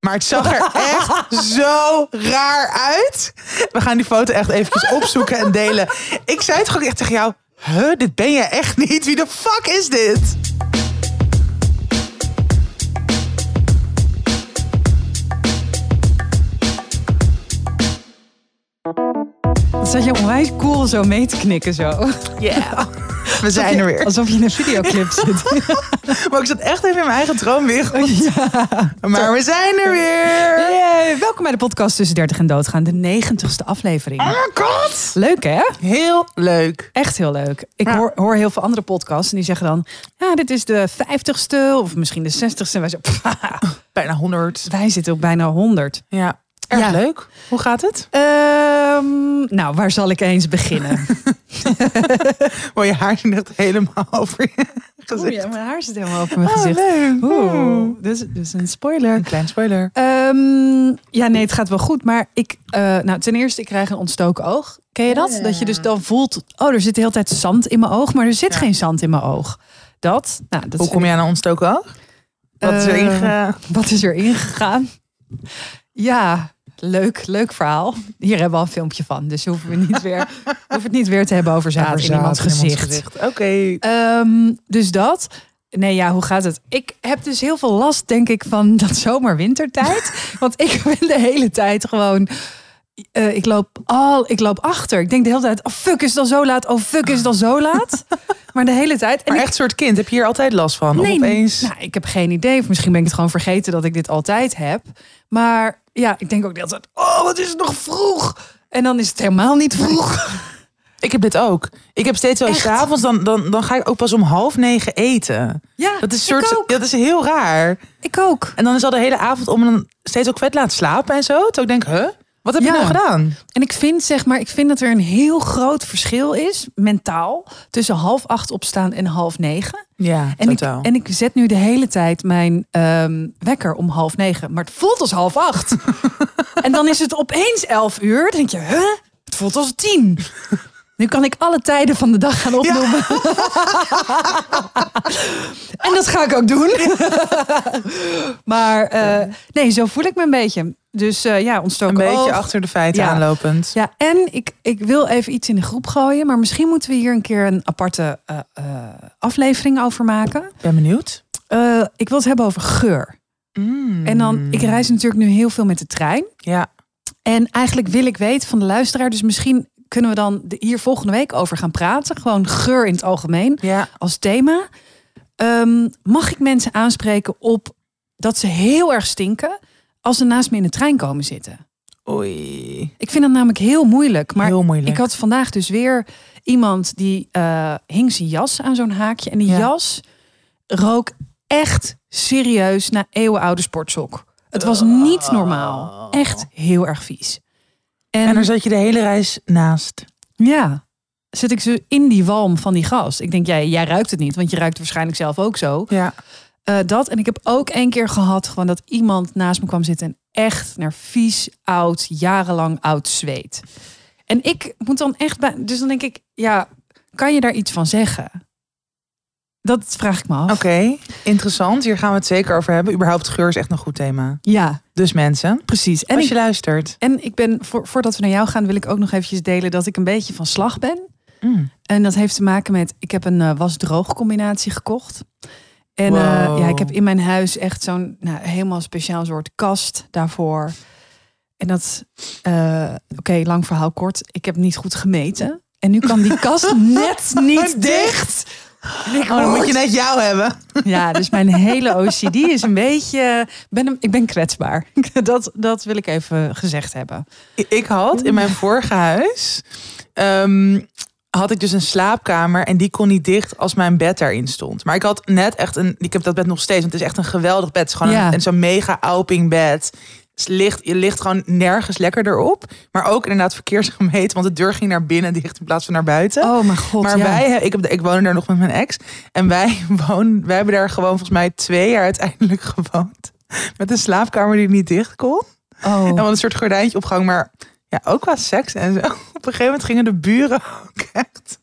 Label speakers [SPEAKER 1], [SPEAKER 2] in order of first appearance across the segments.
[SPEAKER 1] Maar het zag er echt zo raar uit. We gaan die foto echt eventjes opzoeken en delen. Ik zei het gewoon echt tegen jou. Huh, dit ben je echt niet. Wie de fuck is dit?
[SPEAKER 2] Dat zat je onwijs cool zo mee te knikken zo.
[SPEAKER 1] We zijn er weer.
[SPEAKER 2] Alsof je in een videoclip zit.
[SPEAKER 1] Maar ik zat echt even in mijn eigen droomwereld. Maar we zijn er weer.
[SPEAKER 2] Yay, Welkom bij de podcast Tussen 30 en Doodgaan, de negentigste aflevering.
[SPEAKER 1] Oh god.
[SPEAKER 2] Leuk hè?
[SPEAKER 1] Heel leuk.
[SPEAKER 2] Echt heel leuk. Ik
[SPEAKER 1] Ja.
[SPEAKER 2] hoor, hoor heel veel andere podcasts en die zeggen dan... Ja, dit is de vijftigste of misschien de zestigste. En wij, zo, pff,
[SPEAKER 1] Bijna 100.
[SPEAKER 2] wij zitten op bijna honderd.
[SPEAKER 1] Ja. Erg
[SPEAKER 2] Ja.
[SPEAKER 1] leuk. Hoe gaat het?
[SPEAKER 2] Ehm, nou, waar zal ik eens beginnen?
[SPEAKER 1] Oh, je haar zit echt helemaal over je
[SPEAKER 2] Oeh,
[SPEAKER 1] gezicht.
[SPEAKER 2] Oh, ja, mijn haar zit helemaal over mijn gezicht.
[SPEAKER 1] Oh, leuk.
[SPEAKER 2] Oeh, dus, dus een spoiler.
[SPEAKER 1] Een klein spoiler.
[SPEAKER 2] Ehm, ja, nee, het gaat wel goed. Maar ik, eh, nou, ten eerste, ik krijg een ontstoken oog. Ken je dat? Dat je dus dan voelt, oh, er zit de hele tijd zand in mijn oog, maar er zit
[SPEAKER 1] Ja.
[SPEAKER 2] geen zand in mijn oog. Dat, nou, dat
[SPEAKER 1] Hoe kom je aan een ontstoken oog? Wat is er
[SPEAKER 2] Eh,
[SPEAKER 1] inge...
[SPEAKER 2] wat is er ingegaan? Ja, leuk, leuk verhaal. Hier hebben we al een filmpje van, dus hoeven we niet weer, hoeven het niet weer te hebben over zaad
[SPEAKER 1] Over
[SPEAKER 2] in iemands
[SPEAKER 1] zaad
[SPEAKER 2] gezicht.
[SPEAKER 1] Oké.
[SPEAKER 2] Ehm, dus dat. Nee, ja, hoe gaat het? Ik heb dus heel veel last, denk ik, van dat zomer-wintertijd. Want ik ben de hele tijd gewoon. eh, ik, loop al, ik loop achter. Ik denk de hele tijd: oh fuck, is het al zo laat? Oh fuck, is het al zo laat? Maar de hele tijd. En
[SPEAKER 1] Maar
[SPEAKER 2] ik-
[SPEAKER 1] echt soort kind. Heb je hier altijd last van?
[SPEAKER 2] Nee,
[SPEAKER 1] of opeens...
[SPEAKER 2] nou, ik heb geen idee. Of misschien ben ik het gewoon vergeten dat ik dit altijd heb. Maar ja, ik denk ook de hele tijd: oh, wat is het nog vroeg? En dan is het helemaal niet vroeg.
[SPEAKER 1] Ik heb dit ook. Ik heb steeds zo
[SPEAKER 2] Echt?
[SPEAKER 1] s'avonds, dan, dan, dan ga ik ook pas om half negen eten.
[SPEAKER 2] Ja,
[SPEAKER 1] Dat is, soort,
[SPEAKER 2] ik ook.
[SPEAKER 1] dat is heel raar.
[SPEAKER 2] Ik ook.
[SPEAKER 1] En dan is al de hele avond om en dan steeds ook vet laten slapen en zo. Toen ik denk, huh? Wat heb
[SPEAKER 2] Ja.
[SPEAKER 1] je nou gedaan?
[SPEAKER 2] En ik vind, zeg maar, ik vind dat er een heel groot verschil is, mentaal, tussen half acht opstaan en half negen.
[SPEAKER 1] Ja,
[SPEAKER 2] En, ik,
[SPEAKER 1] totaal.
[SPEAKER 2] en ik zet nu de hele tijd mijn ehm, wekker om half negen, maar het voelt als half acht. en dan is het opeens elf uur, dan denk je, huh? Het voelt als tien. Nu kan ik alle tijden van de dag gaan opnoemen. en dat ga ik ook doen. maar eh, nee, zo voel ik me een beetje. Dus eh, ja,
[SPEAKER 1] een
[SPEAKER 2] ontstoken
[SPEAKER 1] beetje
[SPEAKER 2] oog.
[SPEAKER 1] achter de feiten
[SPEAKER 2] Ja.
[SPEAKER 1] aanlopend.
[SPEAKER 2] Ja, en ik, ik wil even iets in de groep gooien, maar misschien moeten we hier een keer een aparte eh, eh, aflevering over maken.
[SPEAKER 1] Ik ben benieuwd.
[SPEAKER 2] Eh, ik wil het hebben over geur. Mm. En
[SPEAKER 1] Mm.
[SPEAKER 2] dan, ik reis natuurlijk nu heel veel met de trein.
[SPEAKER 1] Ja,
[SPEAKER 2] En eigenlijk wil ik weten van de luisteraar, dus misschien kunnen we dan de- hier volgende week over gaan praten. Gewoon geur in het algemeen
[SPEAKER 1] ja.
[SPEAKER 2] als thema. Ehm, mag ik mensen aanspreken op dat ze heel erg stinken als ze naast me in de trein komen zitten?
[SPEAKER 1] Oei.
[SPEAKER 2] Ik vind dat namelijk heel moeilijk. Maar
[SPEAKER 1] Heel moeilijk.
[SPEAKER 2] ik had vandaag dus weer iemand die eh, hing zijn jas aan zo'n haakje. En die
[SPEAKER 1] Ja.
[SPEAKER 2] jas rook echt serieus naar eeuwenoude sportsok. Het was niet normaal. Echt heel erg vies. En,
[SPEAKER 1] Oh. En daar zat je de hele reis naast.
[SPEAKER 2] ja, zit ik zo in die walm van die gast. Ik denk, jij, jij ruikt het niet, want je ruikt waarschijnlijk zelf ook zo.
[SPEAKER 1] Ja.
[SPEAKER 2] Eh, dat. En ik heb ook één keer gehad gewoon dat iemand naast me kwam zitten en echt naar vies oud, jarenlang oud zweet. En ik moet dan echt bij. Dus dan denk ik, ja, kan je daar iets van zeggen? Dat vraag ik me af.
[SPEAKER 1] Oké, interessant. Hier gaan we het zeker over hebben. Überhaupt geur is echt een goed thema.
[SPEAKER 2] Ja,
[SPEAKER 1] Dus mensen,
[SPEAKER 2] precies. En
[SPEAKER 1] als
[SPEAKER 2] ik,
[SPEAKER 1] je luistert.
[SPEAKER 2] en ik ben, voor, voordat we naar jou gaan, wil ik ook nog eventjes delen dat ik een beetje van slag ben.
[SPEAKER 1] Mm.
[SPEAKER 2] En dat heeft te maken met, ik heb een eh, was-droog combinatie gekocht. En eh,
[SPEAKER 1] Wow.
[SPEAKER 2] ja, ik heb in mijn huis echt zo'n nou, helemaal speciaal soort kast daarvoor. En dat, eh, oké, lang verhaal kort. Ik heb niet goed gemeten. En nu kan die kast net niet dicht. En ik-
[SPEAKER 1] Oh, dan moet je net jou hebben.
[SPEAKER 2] Ja, dus mijn hele OCD is een beetje... eh, Ben een- ik ben kwetsbaar. Dat, dat wil ik even gezegd hebben.
[SPEAKER 1] Ik had in mijn vorige huis. ehm, had ik dus een slaapkamer en die kon niet dicht als mijn bed daarin stond. Maar ik had net echt een. Ik heb dat bed nog steeds, want het is echt een geweldig bed. Het is gewoon
[SPEAKER 2] Ja.
[SPEAKER 1] een, een zo'n mega Alping bed. Het ligt, je ligt gewoon nergens lekker erop. Maar ook inderdaad verkeersgemeten, want de deur ging naar binnen dicht in plaats van naar buiten.
[SPEAKER 2] Oh mijn god,
[SPEAKER 1] Maar
[SPEAKER 2] ja.
[SPEAKER 1] wij, he- ik, heb, ik woonde daar nog met mijn ex. En wij, woon, wij hebben daar gewoon volgens mij twee jaar uiteindelijk gewoond. Met een slaapkamer die niet dicht kon. En we
[SPEAKER 2] Oh.
[SPEAKER 1] hadden een soort gordijntje opgang. Maar ja, ook qua seks en zo. Op een gegeven moment gingen de buren ook echt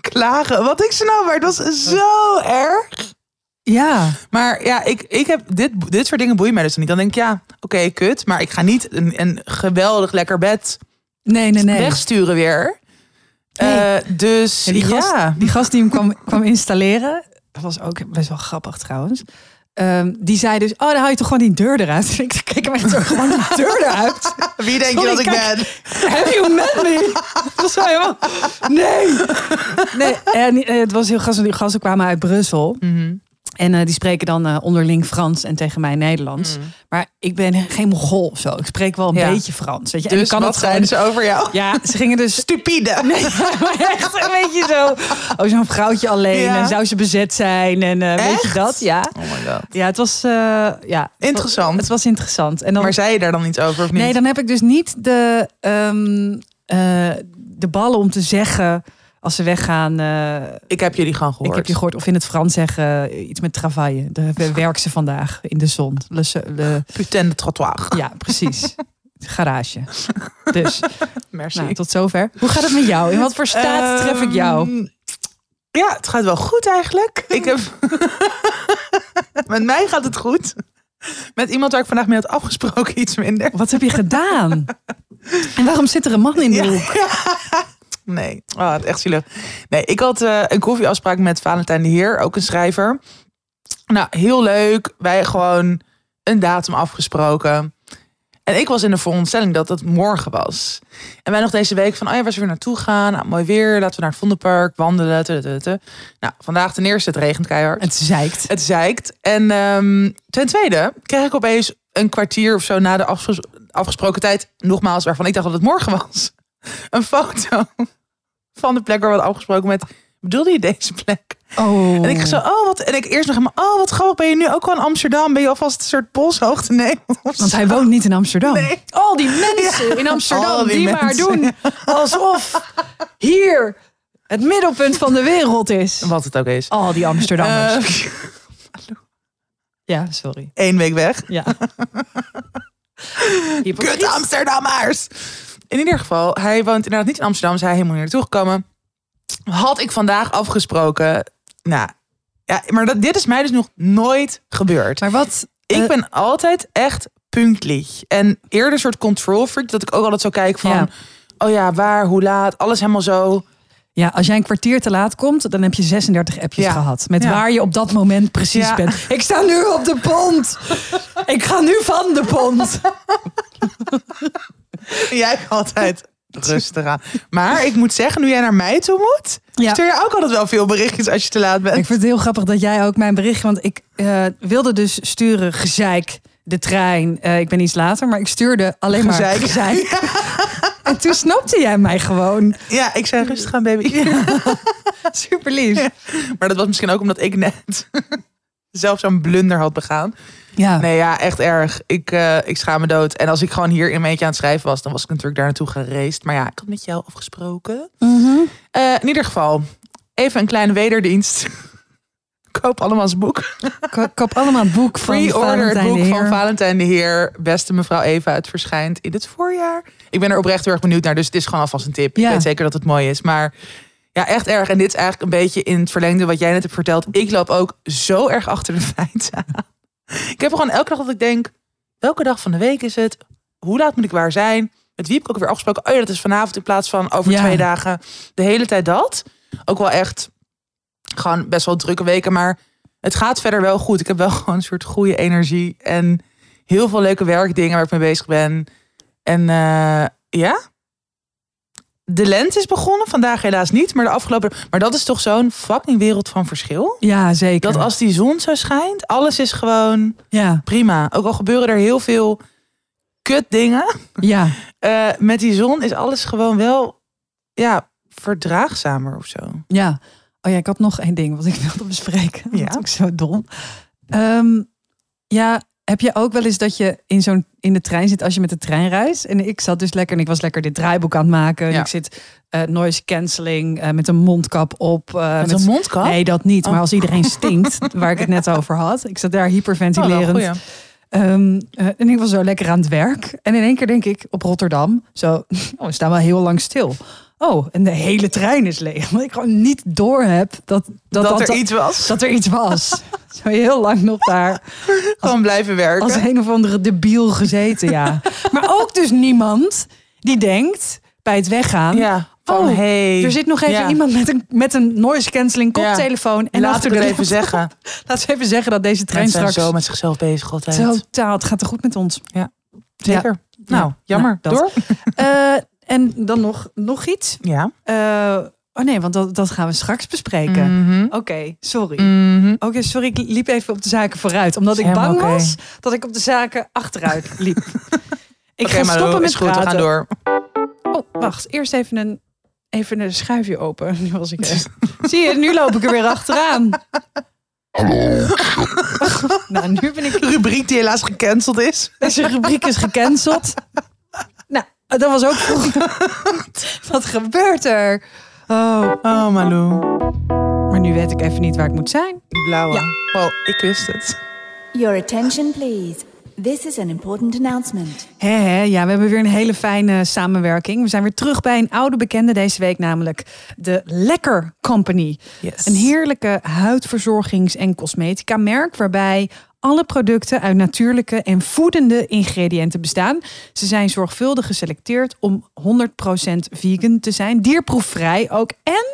[SPEAKER 1] klagen. Wat ik ze nou, maar het was zo erg.
[SPEAKER 2] Ja.
[SPEAKER 1] Maar ja, ik, ik heb dit, dit soort dingen boeien mij dus niet. Dan denk ik, ja, oké, kut. Maar ik ga niet een, een geweldig lekker bed
[SPEAKER 2] Nee, nee, nee.
[SPEAKER 1] wegsturen weer.
[SPEAKER 2] Nee.
[SPEAKER 1] Eh, dus
[SPEAKER 2] Ja,
[SPEAKER 1] ja,
[SPEAKER 2] die, Gast, die gast die hem kwam, kwam installeren, dat was ook best wel grappig trouwens. Ehm, die zei dus, oh, dan haal je toch gewoon die deur eruit. Ik keek hem echt zo, gewoon die deur eruit.
[SPEAKER 1] wie denk
[SPEAKER 2] Sorry,
[SPEAKER 1] je dat ik
[SPEAKER 2] kijk.
[SPEAKER 1] ben?
[SPEAKER 2] Have you met me? Dat was helemaal, nee. nee en, eh, het was heel grappig, want die gasten kwamen uit Brussel.
[SPEAKER 1] Mhm.
[SPEAKER 2] En eh, die spreken dan eh, onderling Frans en tegen mij Nederlands. Maar ik ben geen Mongool of zo. Ik spreek wel een
[SPEAKER 1] Mhm. Ja.
[SPEAKER 2] beetje Frans. Weet je? en
[SPEAKER 1] Dus
[SPEAKER 2] ik kan
[SPEAKER 1] kan wat
[SPEAKER 2] het gewoon...
[SPEAKER 1] zeiden ze over jou?
[SPEAKER 2] Ja, ze gingen dus
[SPEAKER 1] Stupide.
[SPEAKER 2] Ja, maar echt een beetje zo. Oh, zo'n vrouwtje alleen.
[SPEAKER 1] Ja.
[SPEAKER 2] En zou ze bezet zijn? En eh, weet je
[SPEAKER 1] Echt?
[SPEAKER 2] dat? Ja.
[SPEAKER 1] Oh my god.
[SPEAKER 2] Ja, het was eh, ja,
[SPEAKER 1] Interessant.
[SPEAKER 2] Oh, Het was interessant. En dan,
[SPEAKER 1] Maar zei je daar dan iets over of niet?
[SPEAKER 2] nee, dan heb ik dus niet de, ehm, eh, de ballen om te zeggen als ze weggaan. eh,
[SPEAKER 1] Ik heb jullie gewoon
[SPEAKER 2] ik
[SPEAKER 1] gehoord.
[SPEAKER 2] heb je gehoord. Of in het Frans zeggen eh, iets met travaille. De, we- werk ze vandaag in de zon. Le, se- le-
[SPEAKER 1] Putain de trottoir.
[SPEAKER 2] ja, precies. Garage. Dus,
[SPEAKER 1] Merci.
[SPEAKER 2] nou, tot zover. Hoe gaat het met jou? In wat voor staat tref ik jou?
[SPEAKER 1] Ehm, Ja, het gaat wel goed eigenlijk. Ik heb... Met mij gaat het goed. Met iemand waar ik vandaag mee had afgesproken iets minder.
[SPEAKER 2] Wat heb je gedaan? En waarom zit er een man in de
[SPEAKER 1] Ja.
[SPEAKER 2] hoek?
[SPEAKER 1] Nee, Ah, het is echt zielig. Nee, ik had eh, een koffieafspraak met Valentijn de Heer, ook een schrijver. Nou, heel leuk. Wij gewoon een datum afgesproken. En ik was in de veronderstelling dat dat morgen was. En wij nog deze week van, oh ja, waar ze weer naartoe gaan. Nou, mooi weer, laten we naar het Vondelpark wandelen. tu, tu, tu, tu. Nou, vandaag ten eerste, het regent keihard.
[SPEAKER 2] Het zeikt.
[SPEAKER 1] Het zeikt. En ehm, ten tweede kreeg ik opeens een kwartier of zo na de afges- afgesproken tijd, nogmaals, waarvan ik dacht dat het morgen was, een foto van de plek waar we hadden afgesproken met. Bedoelde je deze plek?
[SPEAKER 2] Oh.
[SPEAKER 1] En ik zo, oh wat. En ik eerst nog helemaal, oh wat grappig. Ben je nu ook wel in Amsterdam? Ben je alvast een soort polshoogte nemen? of
[SPEAKER 2] Want
[SPEAKER 1] zo?
[SPEAKER 2] hij woont niet in Amsterdam.
[SPEAKER 1] Nee.
[SPEAKER 2] Al die mensen in Amsterdam
[SPEAKER 1] Al
[SPEAKER 2] die,
[SPEAKER 1] die
[SPEAKER 2] maar
[SPEAKER 1] mensen.
[SPEAKER 2] doen alsof hier het middelpunt van de wereld is. Eh.
[SPEAKER 1] Wat het ook is.
[SPEAKER 2] Al die Amsterdammers.
[SPEAKER 1] Eén
[SPEAKER 2] ja, sorry.
[SPEAKER 1] Één week weg.
[SPEAKER 2] Ja.
[SPEAKER 1] Kut
[SPEAKER 2] Hypocriet.
[SPEAKER 1] Amsterdammers! In ieder geval, hij woont inderdaad niet in Amsterdam, is hij helemaal niet naartoe gekomen. Had ik vandaag afgesproken. Nou, ja, maar dat, dit is mij dus nog nooit gebeurd.
[SPEAKER 2] Maar wat?
[SPEAKER 1] ik
[SPEAKER 2] eh,
[SPEAKER 1] ben altijd echt punktlich. En eerder een soort control freak, dat ik ook altijd zo kijk van...
[SPEAKER 2] Ja.
[SPEAKER 1] Oh ja, waar, hoe laat, alles helemaal zo.
[SPEAKER 2] Ja, als jij een kwartier te laat komt, dan heb je 36 appjes
[SPEAKER 1] Ja.
[SPEAKER 2] gehad. Met
[SPEAKER 1] Ja.
[SPEAKER 2] waar je op dat moment precies
[SPEAKER 1] Ja.
[SPEAKER 2] bent. Ik sta nu op de pont. Ik ga nu van de pont.
[SPEAKER 1] En jij altijd rustig aan. Maar ik moet zeggen, nu jij naar mij toe moet...
[SPEAKER 2] Ja.
[SPEAKER 1] stuur je ook altijd wel veel berichtjes als je te laat bent.
[SPEAKER 2] Ik vind het heel grappig dat jij ook mijn bericht... Want ik eh, wilde dus sturen gezeik, de trein. eh, ik ben iets later, maar ik stuurde alleen maar gezeik.
[SPEAKER 1] Gezeik.
[SPEAKER 2] En toen snapte jij mij gewoon.
[SPEAKER 1] Ja, ik zei rustig aan, baby.
[SPEAKER 2] Super lief.
[SPEAKER 1] Maar dat was misschien ook omdat ik net zelf zo'n blunder had begaan.
[SPEAKER 2] Ja.
[SPEAKER 1] Nee, ja, echt erg. Ik, eh, ik schaam me dood. En als ik gewoon hier in een eentje aan het schrijven was, dan was ik natuurlijk daar naartoe gereisd. Maar ja, ik had met jou afgesproken.
[SPEAKER 2] Mhm.
[SPEAKER 1] Eh, in ieder geval, even een kleine wederdienst. Koop allemaal ons boek.
[SPEAKER 2] Ko- koop allemaal het boek van
[SPEAKER 1] Pre-order het
[SPEAKER 2] Valentijn
[SPEAKER 1] boek
[SPEAKER 2] de
[SPEAKER 1] van
[SPEAKER 2] Heer.
[SPEAKER 1] Valentijn de Heer. Beste mevrouw Eva, het verschijnt in het voorjaar. Ik ben er oprecht heel erg benieuwd naar, dus het is gewoon alvast een tip.
[SPEAKER 2] Ja.
[SPEAKER 1] Ik weet zeker dat het mooi is, maar... Ja, echt erg. En dit is eigenlijk een beetje in het verlengde wat jij net hebt verteld. Ik loop ook zo erg achter de feiten aan. Ik heb gewoon elke dag dat ik denk, welke dag van de week is het? Hoe laat moet ik waar zijn? Met wie heb ik ook weer afgesproken? Oh ja, dat is vanavond in plaats van over
[SPEAKER 2] Ja.
[SPEAKER 1] twee dagen. De hele tijd dat. Ook wel echt gewoon best wel drukke weken. Maar het gaat verder wel goed. Ik heb wel gewoon een soort goede energie. En heel veel leuke werkdingen waar ik mee bezig ben. En eh, ja, de lente is begonnen. Vandaag helaas niet, maar de afgelopen... Maar dat is toch zo'n fucking wereld van verschil?
[SPEAKER 2] Ja, zeker.
[SPEAKER 1] Dat als die zon zo schijnt, alles is gewoon
[SPEAKER 2] Ja,
[SPEAKER 1] prima. Ook al gebeuren er heel veel kut dingen.
[SPEAKER 2] ja.
[SPEAKER 1] eh, met die zon is alles gewoon wel ja, verdraagzamer of zo.
[SPEAKER 2] Ja. Oh ja, ik had nog één ding wat ik wilde bespreken.
[SPEAKER 1] Ja.
[SPEAKER 2] Dat is ook zo dom. Ehm, ja, heb je ook wel eens dat je in, zo'n, in de trein zit als je met de trein reist? En ik zat dus lekker en ik was lekker dit draaiboek aan het maken. En
[SPEAKER 1] Ja.
[SPEAKER 2] ik zit eh, noise cancelling eh, met een mondkap op. eh,
[SPEAKER 1] Met een mondkap?
[SPEAKER 2] Nee, dat niet. Maar
[SPEAKER 1] Oh.
[SPEAKER 2] als iedereen stinkt, waar ik het net over had. Ik zat daar
[SPEAKER 1] Oh, wel een
[SPEAKER 2] hyperventilerend.
[SPEAKER 1] goeie.
[SPEAKER 2] Ehm, eh, en ik was zo lekker aan het werk. En in één keer denk ik op Rotterdam. Zo, oh, we staan wel heel lang stil. oh, en de hele trein is leeg. Omdat ik gewoon niet door heb dat, dat,
[SPEAKER 1] Dat,
[SPEAKER 2] dat,
[SPEAKER 1] er
[SPEAKER 2] dat-
[SPEAKER 1] iets was.
[SPEAKER 2] dat er iets was. Zou je heel lang nog daar
[SPEAKER 1] Gewoon blijven werken.
[SPEAKER 2] als een of andere debiel gezeten, ja. Maar ook dus niemand die denkt bij het weggaan...
[SPEAKER 1] ja. Van,
[SPEAKER 2] Oh,
[SPEAKER 1] hey,
[SPEAKER 2] Er zit nog even
[SPEAKER 1] ja.
[SPEAKER 2] iemand met een, met een noise cancelling
[SPEAKER 1] Ja.
[SPEAKER 2] koptelefoon. En
[SPEAKER 1] En laat
[SPEAKER 2] achter
[SPEAKER 1] ik het
[SPEAKER 2] de
[SPEAKER 1] even
[SPEAKER 2] laptop.
[SPEAKER 1] zeggen.
[SPEAKER 2] Laten we even zeggen dat deze trein
[SPEAKER 1] Mensen zijn
[SPEAKER 2] straks...
[SPEAKER 1] zo met zichzelf bezig altijd.
[SPEAKER 2] Totaal, het gaat er goed met ons.
[SPEAKER 1] Zeker. Nou,
[SPEAKER 2] Ja,
[SPEAKER 1] jammer.
[SPEAKER 2] nou,
[SPEAKER 1] Door?
[SPEAKER 2] Eh, en dan nog, nog iets.
[SPEAKER 1] Ja.
[SPEAKER 2] Eh, oh nee, want dat, dat gaan we straks bespreken.
[SPEAKER 1] Mhm.
[SPEAKER 2] Oké, sorry.
[SPEAKER 1] Mhm.
[SPEAKER 2] Oké, sorry, ik liep even op de zaken vooruit. Omdat
[SPEAKER 1] Is
[SPEAKER 2] ik bang
[SPEAKER 1] helemaal oké.
[SPEAKER 2] was dat ik op de zaken achteruit liep. ik
[SPEAKER 1] Oké,
[SPEAKER 2] ga
[SPEAKER 1] maar
[SPEAKER 2] stoppen
[SPEAKER 1] door.
[SPEAKER 2] met
[SPEAKER 1] is goed,
[SPEAKER 2] praten.
[SPEAKER 1] we gaan door.
[SPEAKER 2] Oh, wacht. Eerst even een, even een schuifje open. Nu was ik er. Zie je, nu loop ik er weer achteraan. Hallo. nou, nu ben ik...
[SPEAKER 1] Rubriek die helaas gecanceld is.
[SPEAKER 2] Deze rubriek is gecanceld. Nou, dat was ook vroeger. Wat gebeurt er? Oh,
[SPEAKER 1] Oh, Malou.
[SPEAKER 2] maar nu weet ik even niet waar ik moet zijn.
[SPEAKER 1] Die blauwe. Oh, ik wist het.
[SPEAKER 3] Your attention, please. This is an important announcement.
[SPEAKER 2] Hé, hé, ja, we hebben weer een hele fijne samenwerking. We zijn weer terug bij een oude bekende deze week, namelijk de Lekker Company.
[SPEAKER 1] Yes.
[SPEAKER 2] Een heerlijke huidverzorgings- en cosmetica merk waarbij alle producten uit natuurlijke en voedende ingrediënten bestaan. Ze zijn zorgvuldig geselecteerd om 100% vegan te zijn, dierproefvrij ook en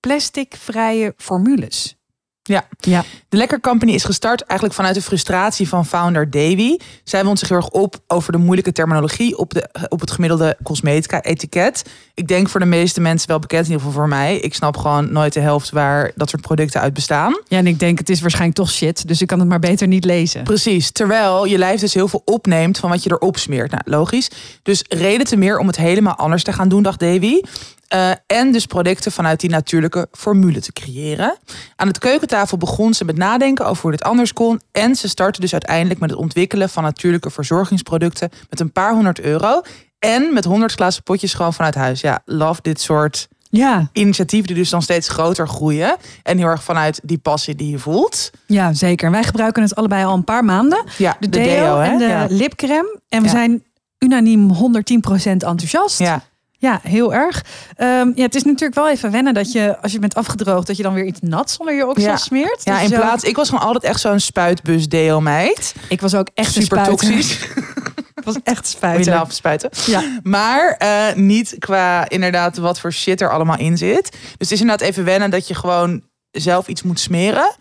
[SPEAKER 2] plasticvrije formules.
[SPEAKER 1] Ja.
[SPEAKER 2] Ja.
[SPEAKER 1] De Lekker Company is gestart eigenlijk vanuit de frustratie van founder Davy. Zij wond zich heel erg op over de moeilijke terminologie op, de, eh, op het gemiddelde cosmetica-etiket. Ik denk voor de meeste mensen wel bekend, in ieder geval voor mij. Ik snap gewoon nooit de helft waar dat soort producten uit bestaan.
[SPEAKER 2] Ja, en ik denk het is waarschijnlijk toch shit, dus ik kan het maar beter niet lezen.
[SPEAKER 1] Precies, terwijl je lijf dus heel veel opneemt van wat je erop smeert. Nou, logisch. Dus reden te meer om het helemaal anders te gaan doen, dacht Davy. Eh, en dus producten vanuit die natuurlijke formule te creëren. Aan het keukentafel begon ze met nadenken over hoe dit anders kon. En ze startte dus uiteindelijk met het ontwikkelen van natuurlijke verzorgingsproducten met een paar honderd euro. En met honderd glazen potjes gewoon vanuit huis. Ja, love dit soort
[SPEAKER 2] Ja,
[SPEAKER 1] initiatieven die dus dan steeds groter groeien. En heel erg vanuit die passie die je voelt.
[SPEAKER 2] ja, zeker. En wij gebruiken het allebei al een paar maanden.
[SPEAKER 1] Ja,
[SPEAKER 2] De, deo, en de
[SPEAKER 1] ja.
[SPEAKER 2] lipcreme. En we
[SPEAKER 1] Ja.
[SPEAKER 2] zijn unaniem 110% enthousiast.
[SPEAKER 1] ja,
[SPEAKER 2] Ja, heel erg. Ehm, ja, het is natuurlijk wel even wennen dat je, als je bent afgedroogd, dat je dan weer iets nats onder je oksel
[SPEAKER 1] Ja.
[SPEAKER 2] smeert. eh,
[SPEAKER 1] Ja,
[SPEAKER 2] Dat je
[SPEAKER 1] in
[SPEAKER 2] Dus zo-
[SPEAKER 1] plaats. Ik was gewoon altijd echt zo'n spuitbus deo meid.
[SPEAKER 2] Ik was ook echt een
[SPEAKER 1] Super
[SPEAKER 2] spuiter.
[SPEAKER 1] toxisch.
[SPEAKER 2] Ik was echt
[SPEAKER 1] We
[SPEAKER 2] spuiter.
[SPEAKER 1] love spuiten.
[SPEAKER 2] Ja.
[SPEAKER 1] Maar eh, niet qua inderdaad wat voor shit er allemaal in zit. Dus het is inderdaad even wennen dat je gewoon zelf iets moet smeren.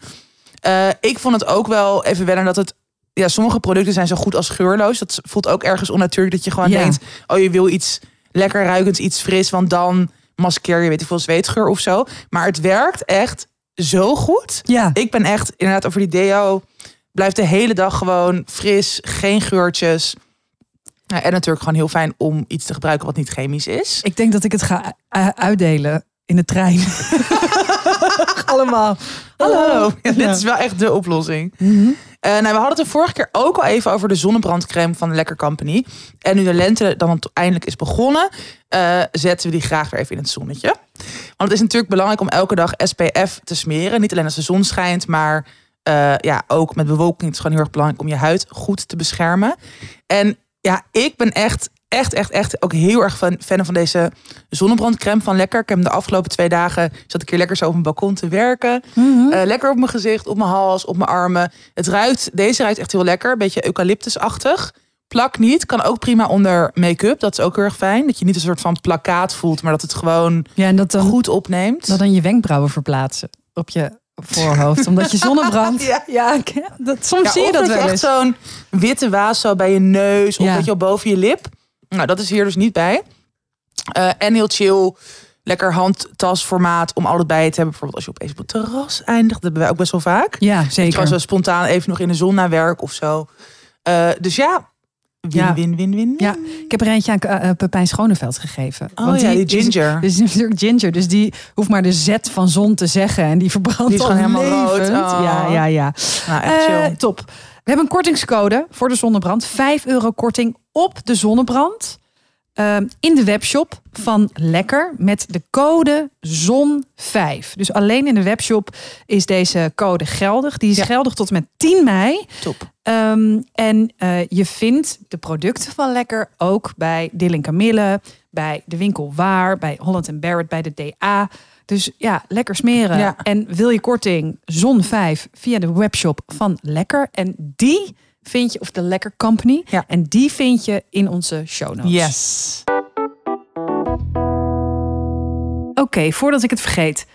[SPEAKER 1] Eh, ik vond het ook wel even wennen dat het. Ja, sommige producten zijn zo goed als geurloos. Dat voelt ook ergens onnatuurlijk dat je gewoon
[SPEAKER 2] Ja.
[SPEAKER 1] denkt: oh, je wil iets lekker ruikends, iets fris, want dan maskeer je, weet ik veel, zweetgeur of zo. Maar het werkt echt zo goed.
[SPEAKER 2] Ja.
[SPEAKER 1] Ik ben echt inderdaad over die deo. Blijft de hele dag gewoon fris, geen geurtjes. Ja, en natuurlijk gewoon heel fijn om iets te gebruiken wat niet chemisch is.
[SPEAKER 2] Ik denk dat ik het ga eh, uitdelen in de trein. Allemaal. Hallo.
[SPEAKER 1] Ja,
[SPEAKER 2] Ja.
[SPEAKER 1] dit is wel echt de oplossing. Eh, nou, we hadden het de vorige keer ook al even over de zonnebrandcreme van Lekker Company. En nu de lente dan eindelijk is begonnen, eh, zetten we die graag weer even in het zonnetje. Want het is natuurlijk belangrijk om elke dag SPF te smeren. Niet alleen als de zon schijnt, maar eh, ja, ook met bewolking. Het is gewoon heel erg belangrijk om je huid goed te beschermen. En ja, ik ben echt, echt, echt, echt ook heel erg fan, fan van deze zonnebrandcreme van Lekker. Ik heb hem de afgelopen twee dagen, zat ik hier lekker zo op mijn balkon te werken. Eh, lekker op mijn gezicht, op mijn hals, op mijn armen. Het ruikt, deze ruikt echt heel lekker. Een beetje eucalyptusachtig. Plak niet, kan ook prima onder make-up. Dat is ook heel erg fijn. Dat je niet een soort van plakkaat voelt, maar dat het gewoon
[SPEAKER 2] Ja, en dat dan,
[SPEAKER 1] goed opneemt.
[SPEAKER 2] dat dan je wenkbrauwen verplaatsen op je voorhoofd. omdat je zonnebrand.
[SPEAKER 1] Ja.
[SPEAKER 2] ik- dat, soms
[SPEAKER 1] Ja,
[SPEAKER 2] zie je
[SPEAKER 1] of
[SPEAKER 2] dat,
[SPEAKER 1] je
[SPEAKER 2] wel
[SPEAKER 1] echt
[SPEAKER 2] eens.
[SPEAKER 1] zo'n witte waas zo bij je neus of
[SPEAKER 2] Ja.
[SPEAKER 1] dat je al boven je lip. Nou, dat is hier dus niet bij. Eh, en heel chill, lekker handtasformaat om alles bij je te hebben. Bijvoorbeeld als je opeens op het terras eindigt, dat hebben wij ook best wel vaak.
[SPEAKER 2] Ja,
[SPEAKER 1] Ik was
[SPEAKER 2] zeker.
[SPEAKER 1] wel spontaan even nog in de zon naar werk of zo. Eh, dus ja, win,
[SPEAKER 2] Ja.
[SPEAKER 1] win, win, win.
[SPEAKER 2] Ja, ik heb er eentje aan eh, eh, Pepijn Schoneveld gegeven.
[SPEAKER 1] Oh ja, die,
[SPEAKER 2] is-
[SPEAKER 1] ginger.
[SPEAKER 2] Dus die is natuurlijk ginger. Dus die hoeft maar de zet van zon te zeggen. En die verbrandt
[SPEAKER 1] Die is
[SPEAKER 2] al
[SPEAKER 1] gewoon helemaal rood.
[SPEAKER 2] levend.
[SPEAKER 1] Oh.
[SPEAKER 2] Ja, ja, ja.
[SPEAKER 1] nou, echt
[SPEAKER 2] Eh,
[SPEAKER 1] chill.
[SPEAKER 2] top. We hebben een kortingscode voor de zonnebrand. 5 euro korting op de zonnebrand. Eh, ehm, in de webshop van Lekker met de code ZON5. Dus alleen in de webshop is deze code geldig. Die is
[SPEAKER 1] Ja.
[SPEAKER 2] geldig tot en met 10 mei.
[SPEAKER 1] Top.
[SPEAKER 2] Ehm, en eh, je vindt de producten van Lekker ook bij Dylan Camille, bij de winkel Waar, bij Holland Barrett, bij de DA. Dus ja, lekker smeren.
[SPEAKER 1] Ja.
[SPEAKER 2] En wil je korting Zon 5 via de webshop van Lekker. En die vind je, of de Lekker Company.
[SPEAKER 1] Ja.
[SPEAKER 2] En die vind je in onze show notes.
[SPEAKER 1] Yes.
[SPEAKER 2] Oké, voordat ik het vergeet.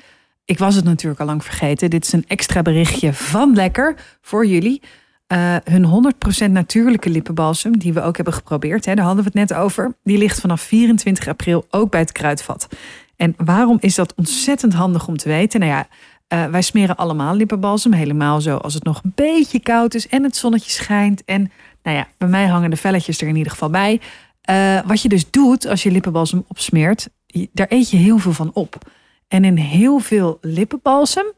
[SPEAKER 2] Ik was het natuurlijk al lang vergeten. Dit is een extra berichtje van Lekker voor jullie. Eh, hun 100% natuurlijke lippenbalsem, die we ook hebben geprobeerd, hè, daar hadden we het net over, die ligt vanaf 24 april ook bij het kruidvat. En waarom is dat ontzettend handig om te weten? Nou ja, eh, wij smeren allemaal lippenbalsem, helemaal zo als het nog een beetje koud is en het zonnetje schijnt. En nou ja, bij mij hangen de velletjes er in ieder geval bij. Eh, wat je dus doet als je lippenbalsem opsmeert, je- daar eet je heel veel van op. En in heel veel lippenbalsem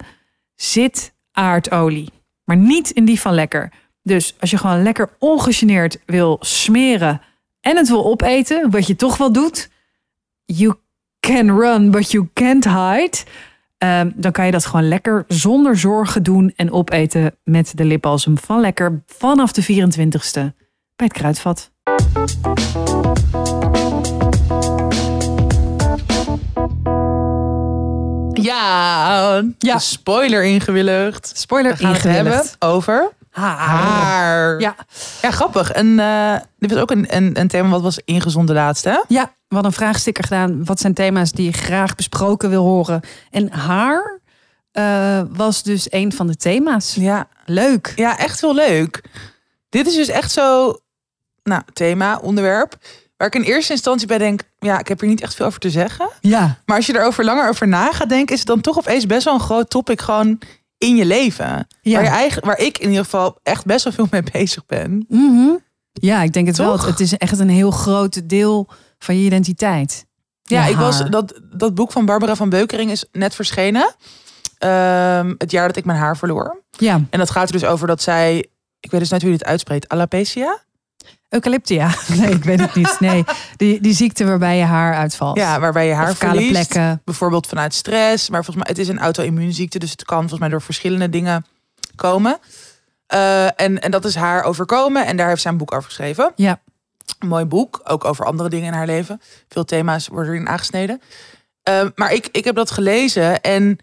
[SPEAKER 2] zit aardolie. Maar niet in die van lekker. Dus als je gewoon lekker ongegeneerd wil smeren en het wil opeten, wat je toch wel doet, you can run, but you can't hide. Ehm, dan kan je dat gewoon lekker zonder zorgen doen en opeten met de lipbalsem van lekker vanaf de 24ste bij het kruidvat.
[SPEAKER 1] Ja,
[SPEAKER 2] Ja.
[SPEAKER 1] de spoiler ingewilligd. We
[SPEAKER 2] Spoiler
[SPEAKER 1] gaan het hebben over haar.
[SPEAKER 2] Ja,
[SPEAKER 1] Ja, grappig. En eh, dit was ook een, een, een thema wat was ingezonden laatst, hè?
[SPEAKER 2] Ja, we hadden een vraagsticker gedaan. Wat zijn thema's die je graag besproken wil horen? En haar eh, was dus een van de thema's.
[SPEAKER 1] Ja.
[SPEAKER 2] Leuk.
[SPEAKER 1] Ja, echt heel leuk. Dit is dus echt zo, nou, thema, onderwerp. Waar ik in eerste instantie bij denk, ja, ik heb hier niet echt veel over te zeggen.
[SPEAKER 2] Ja.
[SPEAKER 1] Maar als je erover langer over na gaat denken, is het dan toch opeens best wel een groot topic gewoon in je leven.
[SPEAKER 2] Ja.
[SPEAKER 1] Waar, je eigen, waar ik in ieder geval echt best wel veel mee bezig ben.
[SPEAKER 2] Mhm. Ja, ik denk het wel.
[SPEAKER 1] Toch?
[SPEAKER 2] Het is echt een heel groot deel van je identiteit.
[SPEAKER 1] Ja,
[SPEAKER 2] Je
[SPEAKER 1] ik was,
[SPEAKER 2] haar.
[SPEAKER 1] dat, dat boek van Barbara van Beukering is net verschenen. Ehm, het jaar dat ik mijn haar verloor.
[SPEAKER 2] Ja,
[SPEAKER 1] En dat gaat er dus over dat zij, ik weet dus net hoe je dit uitspreekt, alopecia?
[SPEAKER 2] eucalyptia. Nee, ik weet het niet. Nee, die, die ziekte waarbij je haar uitvalt.
[SPEAKER 1] Ja, waarbij je haar
[SPEAKER 2] of kale
[SPEAKER 1] verliest.
[SPEAKER 2] plekken.
[SPEAKER 1] bijvoorbeeld vanuit stress. Maar volgens mij, het is een auto-immuunziekte. Dus het kan volgens mij door verschillende dingen komen. Eh, en, en dat is haar overkomen. En daar heeft zij een boek over geschreven.
[SPEAKER 2] Ja.
[SPEAKER 1] Een mooi boek. Ook over andere dingen in haar leven. Veel thema's worden erin aangesneden. Eh, maar ik, ik heb dat gelezen. En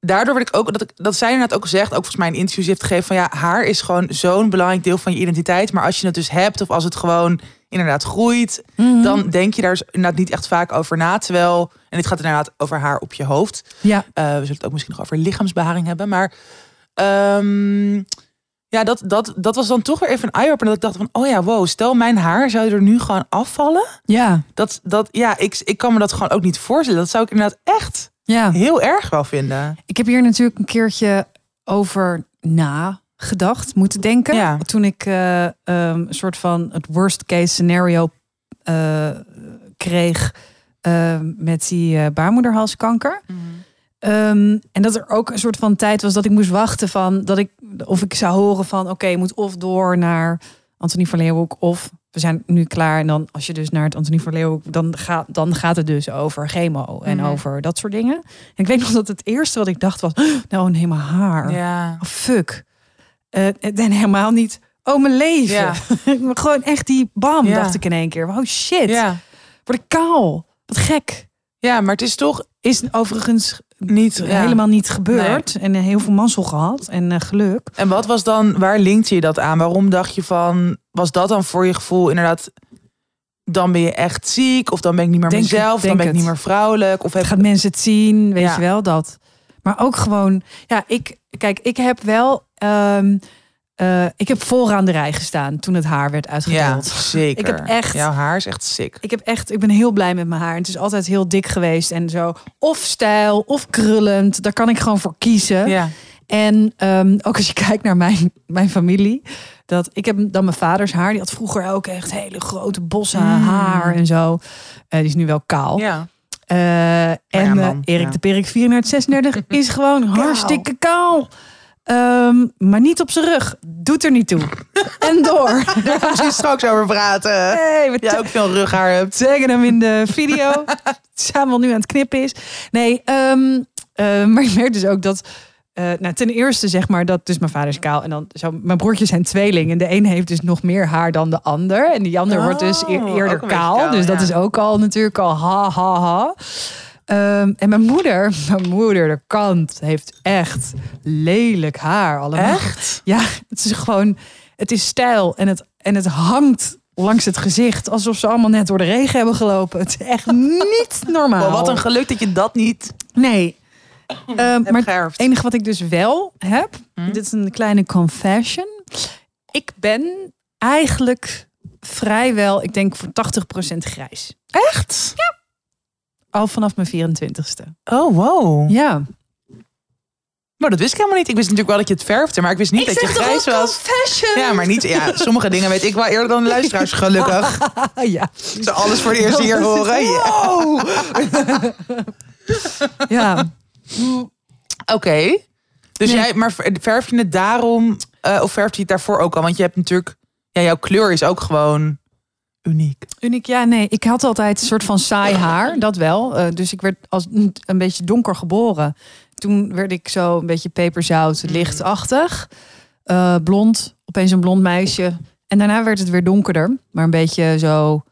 [SPEAKER 1] daardoor werd ik ook... Dat, ik, dat zij inderdaad ook gezegd, ook volgens mij in interviews heeft gegeven... van ja, haar is gewoon zo'n belangrijk deel van je identiteit. Maar als je het dus hebt of als het gewoon inderdaad groeit
[SPEAKER 2] Mhm.
[SPEAKER 1] dan denk je daar dus inderdaad niet echt vaak over na. Terwijl, en dit gaat inderdaad over haar op je hoofd.
[SPEAKER 2] Ja,
[SPEAKER 1] Eh, we zullen het ook misschien nog over lichaamsbeharing hebben. Maar ehm, ja, dat, dat, dat was dan toch weer even een eye-opener. Dat ik dacht van, oh ja, wow, stel mijn haar zou er nu gewoon afvallen.
[SPEAKER 2] ja,
[SPEAKER 1] Dat, dat, ja, ik, ik kan me dat gewoon ook niet voorstellen. Dat zou ik inderdaad echt
[SPEAKER 2] ja.
[SPEAKER 1] heel erg wel vinden.
[SPEAKER 2] Ik heb hier natuurlijk een keertje over nagedacht, moeten denken.
[SPEAKER 1] Ja.
[SPEAKER 2] Toen ik eh, ehm, een soort van het worst case scenario eh, kreeg eh, met die eh, baarmoederhalskanker.
[SPEAKER 1] Mhm.
[SPEAKER 2] Ehm, en dat er ook een soort van tijd was dat ik moest wachten van dat ik of ik zou horen van oké, je moet of door naar Antonie van Leeuwenhoek of we zijn nu klaar. En dan als je dus naar het Antonie van Leeuwenhoek, dan gaat, dan gaat het dus over chemo en
[SPEAKER 1] Mhm.
[SPEAKER 2] over dat soort dingen. En ik weet nog dat het eerste wat ik dacht was, "Oh, nou nee, mijn haar.
[SPEAKER 1] Ja.
[SPEAKER 2] Oh, fuck. Eh, en helemaal niet, oh mijn leven.
[SPEAKER 1] Ja.
[SPEAKER 2] Maar Gewoon echt die bam,
[SPEAKER 1] Ja.
[SPEAKER 2] dacht ik in één keer. Oh shit,
[SPEAKER 1] Ja.
[SPEAKER 2] word ik kaal. Wat gek.
[SPEAKER 1] ja, maar het is toch
[SPEAKER 2] Is overigens
[SPEAKER 1] niet... ja.
[SPEAKER 2] helemaal niet gebeurd. En eh, heel veel mazzel gehad en eh, geluk.
[SPEAKER 1] En wat was dan, waar linkte je dat aan? Waarom dacht je van, was dat dan voor je gevoel inderdaad, dan ben je echt ziek, of dan ben ik niet meer
[SPEAKER 2] Denk het,
[SPEAKER 1] mezelf, dan
[SPEAKER 2] denk
[SPEAKER 1] ben ik niet
[SPEAKER 2] het.
[SPEAKER 1] meer vrouwelijk, of heb
[SPEAKER 2] Gaat mensen het zien, weet
[SPEAKER 1] Ja.
[SPEAKER 2] je wel dat. Maar ook gewoon, ja, ik, kijk, ik heb wel, ehm, eh, ik heb vooraan de rij gestaan toen het haar werd
[SPEAKER 1] ja,
[SPEAKER 2] uitgedeeld.
[SPEAKER 1] zeker.
[SPEAKER 2] Ik heb echt-
[SPEAKER 1] Jouw haar is echt sick.
[SPEAKER 2] Ik heb echt, ik ben heel blij met mijn haar. Het is altijd heel dik geweest en zo. Of stijl, of krullend. Daar kan ik gewoon voor kiezen.
[SPEAKER 1] Ja,
[SPEAKER 2] En ehm, ook als je kijkt naar mijn, mijn familie. Dat, ik heb dan mijn vaders haar. Die had vroeger ook echt hele grote bossen
[SPEAKER 1] Mm.
[SPEAKER 2] haar en zo. Eh, die is nu wel kaal.
[SPEAKER 1] ja.
[SPEAKER 2] Eh, en
[SPEAKER 1] ja,
[SPEAKER 2] eh,
[SPEAKER 1] man,
[SPEAKER 2] Erik
[SPEAKER 1] ja.
[SPEAKER 2] de Perik 34, 36 is gewoon hartstikke kaal. Ehm, maar niet op zijn rug. Doet er niet toe. en door.
[SPEAKER 1] Daar gaan we misschien straks over praten.
[SPEAKER 2] Hey, we
[SPEAKER 1] Jij ook veel rughaar hebt.
[SPEAKER 2] zeggen hem in de video. Samuel nu aan het knippen is. Nee, ehm, eh, maar ik merk dus ook dat... eh, nou, ten eerste zeg maar dat dus mijn vader is kaal. En dan zo, mijn broertjes zijn tweeling. En de een heeft dus nog meer haar dan de ander. En die ander wordt dus eer-
[SPEAKER 1] Oh, ook
[SPEAKER 2] eerder
[SPEAKER 1] een beetje
[SPEAKER 2] kaal.
[SPEAKER 1] kaal,
[SPEAKER 2] Dus dat
[SPEAKER 1] ja.
[SPEAKER 2] is ook al natuurlijk al ha ha ha. Ehm, en mijn moeder, mijn moeder, de kant, heeft echt lelijk haar allemaal.
[SPEAKER 1] Echt?
[SPEAKER 2] Ja, het is gewoon, het is stijl en het, en het hangt langs het gezicht alsof ze allemaal net door de regen hebben gelopen. Het is echt niet normaal.
[SPEAKER 1] Wow, Oh, wat een Mm, geluk dat je dat niet
[SPEAKER 2] Nee. Ehm, maar
[SPEAKER 1] hebt
[SPEAKER 2] het
[SPEAKER 1] geërfd.
[SPEAKER 2] enige wat ik dus wel heb,
[SPEAKER 1] Mm.
[SPEAKER 2] dit is een kleine confession. Ik ben eigenlijk vrijwel, ik denk voor 80% grijs.
[SPEAKER 1] Echt?
[SPEAKER 2] Al vanaf mijn 24ste.
[SPEAKER 1] Oh, wow.
[SPEAKER 2] Ja.
[SPEAKER 1] Maar dat wist ik helemaal niet. Ik wist natuurlijk wel dat je het verfde, maar ik wist niet dat je grijs was.
[SPEAKER 2] confession?
[SPEAKER 1] Ja, maar niet. Ja, sommige dingen weet ik wel eerder dan de luisteraars, gelukkig.
[SPEAKER 2] Oh, ja.
[SPEAKER 1] Ze alles voor de eerste
[SPEAKER 2] Oh,
[SPEAKER 1] keer horen. Ah. Ja.
[SPEAKER 2] Wow! ja.
[SPEAKER 1] Oké. Dus
[SPEAKER 2] Nee.
[SPEAKER 1] jij, maar ver- verf je het daarom, eh, of verf je het daarvoor ook al? Want je hebt natuurlijk, ja, jouw kleur is ook gewoon uniek.
[SPEAKER 2] Uniek, ja, nee. Ik had altijd een soort van saai haar, dat wel. Eh, dus ik werd als een beetje donker geboren. Toen werd ik zo een beetje peperzout,
[SPEAKER 1] Mm.
[SPEAKER 2] lichtachtig. Eh, blond, opeens een blond meisje. En daarna werd het weer donkerder, maar een beetje zo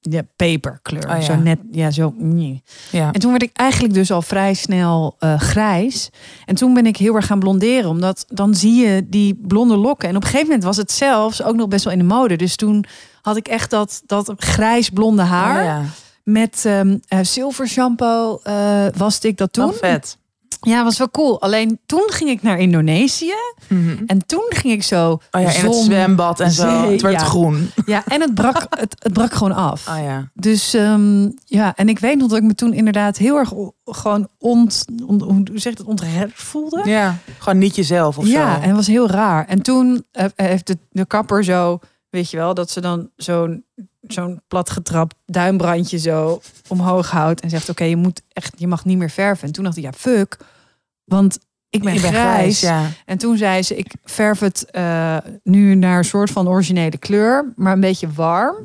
[SPEAKER 2] ja, peperkleur.
[SPEAKER 1] Oh ja.
[SPEAKER 2] Zo net, ja, zo. nee.
[SPEAKER 1] Ja.
[SPEAKER 2] En toen werd ik eigenlijk dus al vrij snel eh, grijs. En toen ben ik heel erg gaan blonderen. Omdat dan zie je die blonde lokken. En op een gegeven moment was het zelfs ook nog best wel in de mode. Dus toen had ik echt dat, dat grijs-blonde haar.
[SPEAKER 1] Oh, ja.
[SPEAKER 2] Met ehm eh, zilver shampoo eh waste ik dat toen.
[SPEAKER 1] Wel Oh, vet.
[SPEAKER 2] Ja, was wel cool. Alleen toen ging ik naar Indonesië.
[SPEAKER 1] Mhm.
[SPEAKER 2] En toen ging ik zo
[SPEAKER 1] Oh ja, in het
[SPEAKER 2] zon-
[SPEAKER 1] zwembad en zo.
[SPEAKER 2] zee,
[SPEAKER 1] het werd
[SPEAKER 2] ja.
[SPEAKER 1] groen.
[SPEAKER 2] Ja, en het brak, het, het brak gewoon af.
[SPEAKER 1] Oh ja.
[SPEAKER 2] Dus ehm, ja, en ik weet nog dat ik me toen inderdaad heel erg o- gewoon ont, on- hoe zeg je dat, ontred voelde.
[SPEAKER 1] Ja. Gewoon niet jezelf of
[SPEAKER 2] ja,
[SPEAKER 1] zo.
[SPEAKER 2] en het was heel raar. En toen eh, heeft de, de kapper zo, weet je wel, dat ze dan zo'n zo'n platgetrapt duimbrandje zo omhoog houdt en zegt: Oké, je moet echt, je mag niet meer verven. En toen dacht ik: Ja, fuck, want ik ben
[SPEAKER 1] Je bent
[SPEAKER 2] grijs.
[SPEAKER 1] ja.
[SPEAKER 2] En toen zei ze: Ik verf het eh, nu naar een soort van originele kleur, maar een beetje warm.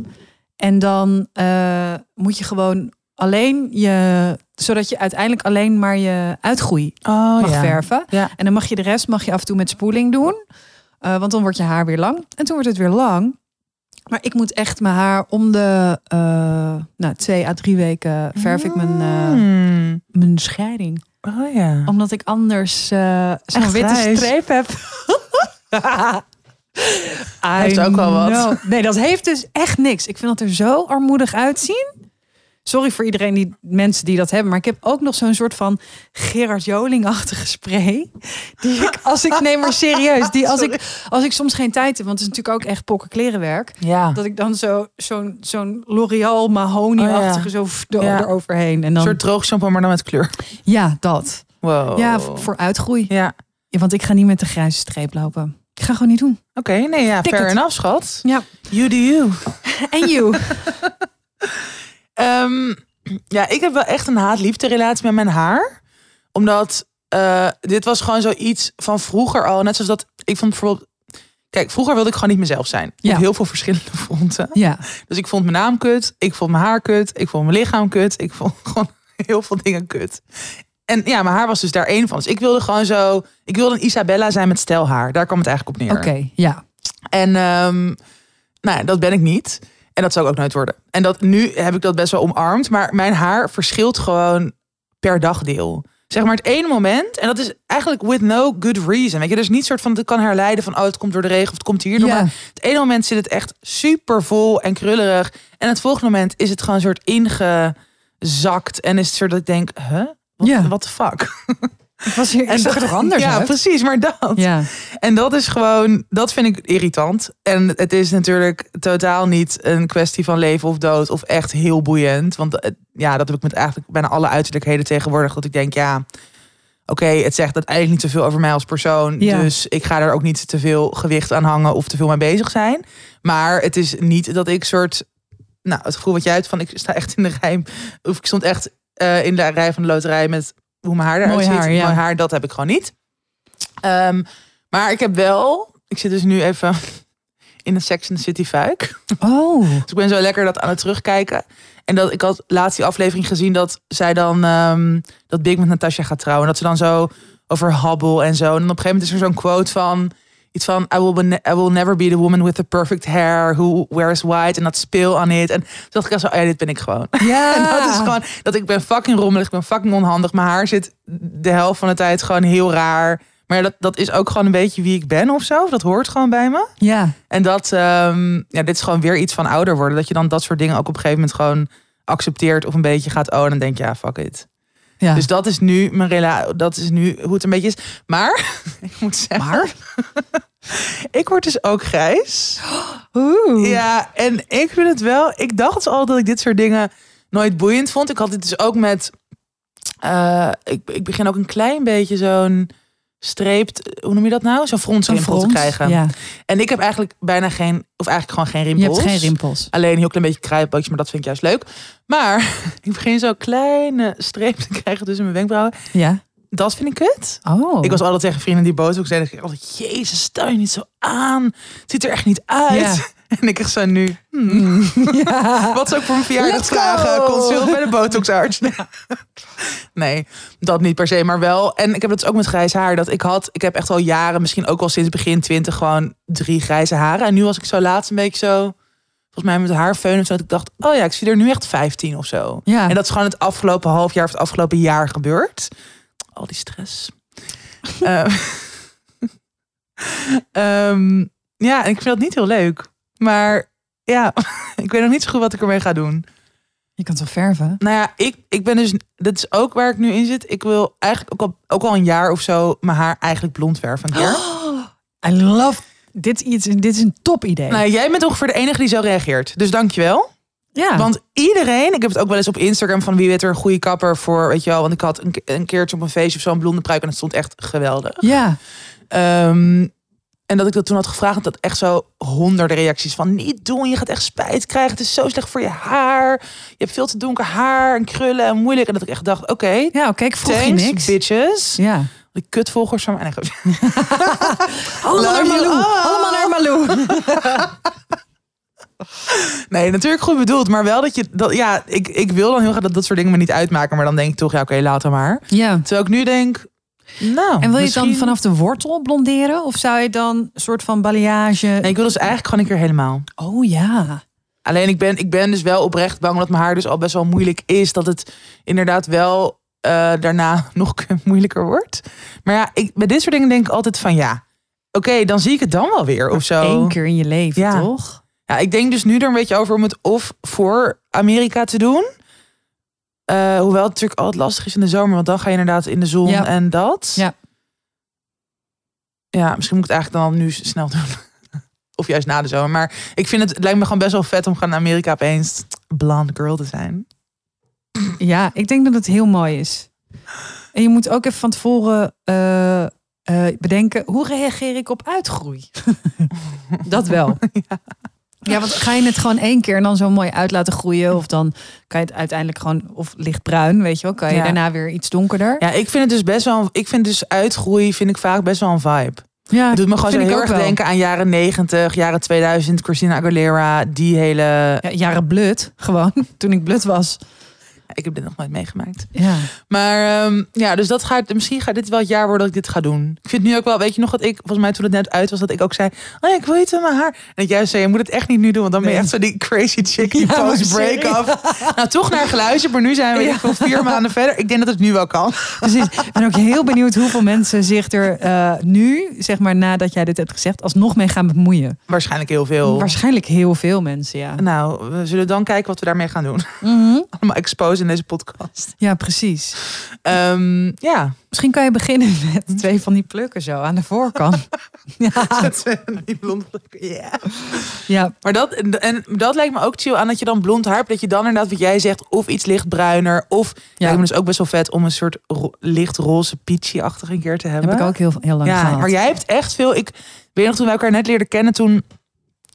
[SPEAKER 2] En dan eh, moet je gewoon alleen je, zodat je uiteindelijk alleen maar je uitgroei
[SPEAKER 1] Oh
[SPEAKER 2] mag
[SPEAKER 1] ja.
[SPEAKER 2] verven.
[SPEAKER 1] Ja.
[SPEAKER 2] En dan mag je de rest mag je af en toe met spoeling doen. Eh, want dan wordt je haar weer lang. En toen wordt het weer lang. Maar ik moet echt mijn haar om de eh, nou, twee à drie weken verf ik mijn, eh,
[SPEAKER 1] Hmm.
[SPEAKER 2] mijn scheiding.
[SPEAKER 1] Oh ja.
[SPEAKER 2] Omdat ik anders eh, zo'n
[SPEAKER 1] Echt
[SPEAKER 2] witte
[SPEAKER 1] grijs.
[SPEAKER 2] streep heb.
[SPEAKER 1] Heeft ook wel wat.
[SPEAKER 2] know. Nee, dat heeft dus echt niks. Ik vind dat er zo armoedig uitzien. Sorry voor iedereen die mensen die dat hebben, maar ik heb ook nog zo'n soort van Gerard Joling-achtige spray. Die ik, als ik neem maar serieus, die als ik, als ik soms geen tijd heb, want het is natuurlijk ook echt pokken klerenwerk,
[SPEAKER 1] Ja.
[SPEAKER 2] dat ik dan zo zo'n zo'n L'Oreal Mahoney-achtige
[SPEAKER 1] Oh ja.
[SPEAKER 2] zo f- er-
[SPEAKER 1] Ja.
[SPEAKER 2] eroverheen en
[SPEAKER 1] Een
[SPEAKER 2] dan
[SPEAKER 1] soort droog shampoo, maar dan met kleur.
[SPEAKER 2] ja dat
[SPEAKER 1] Wow.
[SPEAKER 2] ja v- voor uitgroei.
[SPEAKER 1] Ja.
[SPEAKER 2] Ja, want ik ga niet met de grijze streep lopen. Ik ga gewoon niet doen.
[SPEAKER 1] Oké, nee, ja,
[SPEAKER 2] Tik
[SPEAKER 1] fair
[SPEAKER 2] het.
[SPEAKER 1] enough, schat.
[SPEAKER 2] Ja.
[SPEAKER 1] You do you.
[SPEAKER 2] En you?
[SPEAKER 1] Ehm, ja, ik heb wel echt een haat-liefde relatie met mijn haar. Omdat eh, dit was gewoon zoiets van vroeger al. Net zoals dat, ik vond bijvoorbeeld... Kijk, vroeger wilde ik gewoon niet mezelf zijn.
[SPEAKER 2] Ja.
[SPEAKER 1] Op heel veel verschillende fronten.
[SPEAKER 2] Ja.
[SPEAKER 1] Dus ik vond mijn naam kut. Ik vond mijn haar kut. Ik vond mijn lichaam kut. Ik vond gewoon heel veel dingen kut. En ja, mijn haar was dus daar één van. Dus ik wilde gewoon zo... Ik wilde een Isabella zijn met stijlhaar. Daar kwam het eigenlijk op neer.
[SPEAKER 2] Oké, ja.
[SPEAKER 1] En ehm, nou ja, dat ben ik niet. En dat zou ik ook nooit worden. En dat, nu heb ik dat best wel omarmd. Maar mijn haar verschilt gewoon per dagdeel. Zeg maar het ene moment. En dat is eigenlijk with no good reason. Weet je, dus niet soort van, het kan herleiden van... oh, het komt door de regen of het komt hierdoor.
[SPEAKER 2] Ja.
[SPEAKER 1] Maar het ene moment zit het echt super vol en krullerig. En het volgende moment is het gewoon een soort ingezakt. En is het soort dat ik denk, huh? Wat
[SPEAKER 2] Ja.
[SPEAKER 1] what the fuck?
[SPEAKER 2] Ik was hier, ik
[SPEAKER 1] En
[SPEAKER 2] zag er
[SPEAKER 1] dat-
[SPEAKER 2] toch anders
[SPEAKER 1] Ja,
[SPEAKER 2] uit?
[SPEAKER 1] precies. Maar dat.
[SPEAKER 2] Ja,
[SPEAKER 1] En dat is gewoon, dat vind ik irritant. En het is natuurlijk totaal niet een kwestie van leven of dood of echt heel boeiend. Want eh, ja, dat heb ik met eigenlijk bijna alle uiterlijkheden tegenwoordig. Dat ik denk, ja, oké, het zegt uiteindelijk niet zoveel over mij als persoon.
[SPEAKER 2] Ja.
[SPEAKER 1] Dus ik ga daar ook niet te veel gewicht aan hangen of te veel mee bezig zijn. Maar het is niet dat ik soort, nou, het gevoel wat jij hebt van ik sta echt in de rij. Of ik stond echt eh, in de rij van de loterij met hoe mijn haar eruit
[SPEAKER 2] Mooi
[SPEAKER 1] ziet.
[SPEAKER 2] haar, ja.
[SPEAKER 1] Mooi haar, dat heb ik gewoon niet. Ehm, maar ik heb wel, ik zit dus nu even in een Sex and the City fuik.
[SPEAKER 2] Oh.
[SPEAKER 1] Dus ik ben zo lekker dat aan het terugkijken. En dat ik had laatst die aflevering gezien dat zij dan ehm, dat Big met Natasha gaat trouwen. En dat ze dan zo over Hubble en zo. En dan op een gegeven moment is er zo'n quote van iets van I will, be- I will never be the woman with the perfect hair who wears white and that spill on it. En toen dacht ik al zo, oh ja, dit ben ik gewoon.
[SPEAKER 2] Ja.
[SPEAKER 1] En dat is gewoon dat ik ben fucking rommelig, ik ben fucking onhandig. Mijn haar zit de helft van de tijd gewoon heel raar. Maar dat, dat is ook gewoon een beetje wie ik ben of zo. Dat hoort gewoon bij me.
[SPEAKER 2] Ja.
[SPEAKER 1] En dat, ehm, ja, dit is gewoon weer iets van ouder worden. Dat je dan dat soort dingen ook op een gegeven moment gewoon accepteert of een beetje gaat ownen en denk je, ja, fuck it.
[SPEAKER 2] Ja.
[SPEAKER 1] Dus dat is nu mijn rela dat is nu hoe het een beetje is. Maar ik moet zeggen,
[SPEAKER 2] maar.
[SPEAKER 1] ik word dus ook grijs.
[SPEAKER 2] Oeh.
[SPEAKER 1] Ja, en ik vind het wel. Ik dacht al dat ik dit soort dingen nooit boeiend vond. Ik had dit dus ook met. eh, ik, ik begin ook een klein beetje zo'n streept, hoe noem je dat nou? Zo'n
[SPEAKER 2] Zo'n
[SPEAKER 1] fronsrimpel te
[SPEAKER 2] frons.
[SPEAKER 1] krijgen.
[SPEAKER 2] Ja.
[SPEAKER 1] En ik heb eigenlijk bijna geen, of eigenlijk gewoon geen
[SPEAKER 2] Je
[SPEAKER 1] rimpels.
[SPEAKER 2] hebt geen rimpels.
[SPEAKER 1] Alleen een heel klein beetje kruipootjes, maar dat vind ik juist leuk. Maar ik begin zo kleine strepen te krijgen tussen mijn wenkbrauwen.
[SPEAKER 2] Ja.
[SPEAKER 1] Dat vind ik kut.
[SPEAKER 2] Oh.
[SPEAKER 1] Ik was altijd tegen vrienden die botox deden. Ik altijd, jezus, stel je niet zo aan. Het ziet er echt niet uit. En ik echt zo nu, hmm,
[SPEAKER 2] Ja.
[SPEAKER 1] wat zou ik voor een verjaardag
[SPEAKER 2] Let's go!
[SPEAKER 1] vragen? Consult bij de botoxarts. nee, dat niet per se, maar wel. En ik heb dat dus ook met grijs haar. Dat ik had, ik heb echt al jaren, misschien ook al sinds begin twintig, gewoon drie grijze haren. En nu was ik zo laatst een beetje zo, volgens mij met haarfeun of zo, dat ik dacht, oh ja, ik zie er nu echt 15 of zo.
[SPEAKER 2] Ja.
[SPEAKER 1] En dat is gewoon het afgelopen half jaar of het afgelopen jaar gebeurd. Al die stress. Ehm, ehm, ja, en ik vind dat niet heel leuk. Maar ja, ik weet nog niet zo goed wat ik ermee ga doen.
[SPEAKER 2] Je kan toch verven?
[SPEAKER 1] Nou ja, ik, ik ben dus... Dat is ook waar ik nu in zit. Ik wil eigenlijk ook al, ook al een jaar of zo... mijn haar eigenlijk blond verven. een keer.
[SPEAKER 2] I love dit iets. Dit is een top idee.
[SPEAKER 1] Nou, jij bent ongeveer de enige die zo reageert. Dus dankjewel.
[SPEAKER 2] ja.
[SPEAKER 1] Want iedereen, ik heb het ook wel eens op Instagram van wie weet er een goede kapper voor, weet je wel. Want ik had een, ke- een keertje op een feestje of zo'n blonde pruik en het stond echt geweldig.
[SPEAKER 2] ja.
[SPEAKER 1] Ehm, en dat ik dat toen had gevraagd, dat echt zo honderden reacties van niet doen, je gaat echt spijt krijgen, het is zo slecht voor je haar. Je hebt veel te donker haar en krullen en moeilijk. En dat ik echt dacht, oké,
[SPEAKER 2] Ja, oké, ik vroeg je
[SPEAKER 1] thanks
[SPEAKER 2] niks.
[SPEAKER 1] bitches.
[SPEAKER 2] Ja.
[SPEAKER 1] Die kutvolgers van mijn eigen.
[SPEAKER 2] Allemaal
[SPEAKER 1] Love
[SPEAKER 2] naar
[SPEAKER 1] you
[SPEAKER 2] Malou.
[SPEAKER 1] all.
[SPEAKER 2] Allemaal naar Malou.
[SPEAKER 1] Nee, natuurlijk goed bedoeld, maar wel dat je, dat, ja, ik, ik wil dan heel graag dat dat soort dingen me niet uitmaken. Maar dan denk ik toch, ja oké, later maar.
[SPEAKER 2] Ja.
[SPEAKER 1] Terwijl ik nu denk, nou.
[SPEAKER 2] En wil je het
[SPEAKER 1] misschien-
[SPEAKER 2] dan vanaf de wortel blonderen? Of zou je dan een soort van balayage...
[SPEAKER 1] Nee, ik wil dus eigenlijk gewoon een keer helemaal.
[SPEAKER 2] Oh ja.
[SPEAKER 1] Alleen ik ben, ik ben dus wel oprecht bang dat mijn haar dus al best wel moeilijk is. Dat het inderdaad wel eh, daarna nog moeilijker wordt. Maar ja, ik, bij dit soort dingen denk ik altijd van ja. Oké, dan zie ik het dan wel weer of zo.
[SPEAKER 2] Eén keer in je leven,
[SPEAKER 1] Oh. Ja.
[SPEAKER 2] toch?
[SPEAKER 1] Ja, ik denk dus nu er een beetje over om het of voor Amerika te doen. Eh, hoewel het natuurlijk altijd lastig is in de zomer, want dan ga je inderdaad in de zon
[SPEAKER 2] Ja.
[SPEAKER 1] en dat.
[SPEAKER 2] Ja.
[SPEAKER 1] Ja, misschien moet ik het eigenlijk dan nu s- snel doen. of juist na de zomer. Maar ik vind het, het lijkt me gewoon best wel vet om gaan naar Amerika opeens blonde girl te zijn.
[SPEAKER 2] Ja, ik denk dat het heel mooi is. En je moet ook even van tevoren eh, eh, bedenken... hoe reageer ik op uitgroei? dat wel. Ja. want ga je het gewoon één keer en dan zo mooi uit laten groeien... of dan kan je het uiteindelijk gewoon... of lichtbruin, weet je wel. Kan je
[SPEAKER 1] Ja.
[SPEAKER 2] daarna weer iets donkerder.
[SPEAKER 1] Ja, ik vind het dus best wel, ik vind dus uitgroei vind ik vaak best wel een vibe.
[SPEAKER 2] Ja,
[SPEAKER 1] Het doet me gewoon zo
[SPEAKER 2] vind
[SPEAKER 1] heel
[SPEAKER 2] ik ook
[SPEAKER 1] erg
[SPEAKER 2] wel.
[SPEAKER 1] denken aan jaren 90, jaren 2000, Christina Aguilera, die hele...
[SPEAKER 2] Ja, jaren blut, gewoon. Toen ik blut was.
[SPEAKER 1] Ik heb dit nog nooit meegemaakt.
[SPEAKER 2] Ja.
[SPEAKER 1] Maar ehm, ja, dus dat gaat, misschien gaat dit wel het jaar worden dat ik dit ga doen. Ik vind nu ook wel, weet je nog dat ik, volgens mij toen het net uit was, dat ik ook zei, oh ja, ik wil iets aan mijn haar. En dat jij zei, je moet het echt niet nu doen, want dan ben je
[SPEAKER 2] Nee.
[SPEAKER 1] echt zo die crazy chick die
[SPEAKER 2] Ja, maar
[SPEAKER 1] post-break-up. Nou, toch naar geluisterd, maar nu zijn we
[SPEAKER 2] Ja.
[SPEAKER 1] ik veel vier maanden verder. Ik denk dat het nu wel kan.
[SPEAKER 2] Precies. Ik ben ook heel benieuwd hoeveel mensen zich er eh, nu, zeg maar nadat jij dit hebt gezegd, alsnog mee gaan bemoeien.
[SPEAKER 1] Waarschijnlijk heel veel.
[SPEAKER 2] Waarschijnlijk heel veel mensen, ja.
[SPEAKER 1] Nou, we zullen dan kijken wat we daarmee gaan doen.
[SPEAKER 2] Mhm.
[SPEAKER 1] Allemaal expose in deze podcast.
[SPEAKER 2] Ja, precies.
[SPEAKER 1] Ehm, ja,
[SPEAKER 2] Misschien kan je beginnen met twee van die plukken zo aan de voorkant. Ja,
[SPEAKER 1] dat die blonde plukken, ja.
[SPEAKER 2] ja.
[SPEAKER 1] Maar dat, en dat lijkt me ook chill aan dat je dan blond haar hebt. Dat je dan inderdaad wat jij zegt, of iets lichtbruiner. Of ja. lijkt me dus ook best wel vet om een soort ro- lichtroze peachy-achtig een keer te hebben.
[SPEAKER 2] heb ik ook heel, heel lang
[SPEAKER 1] ja,
[SPEAKER 2] gehad.
[SPEAKER 1] maar jij hebt echt veel. Ik weet nog toen wij elkaar net leerden kennen, toen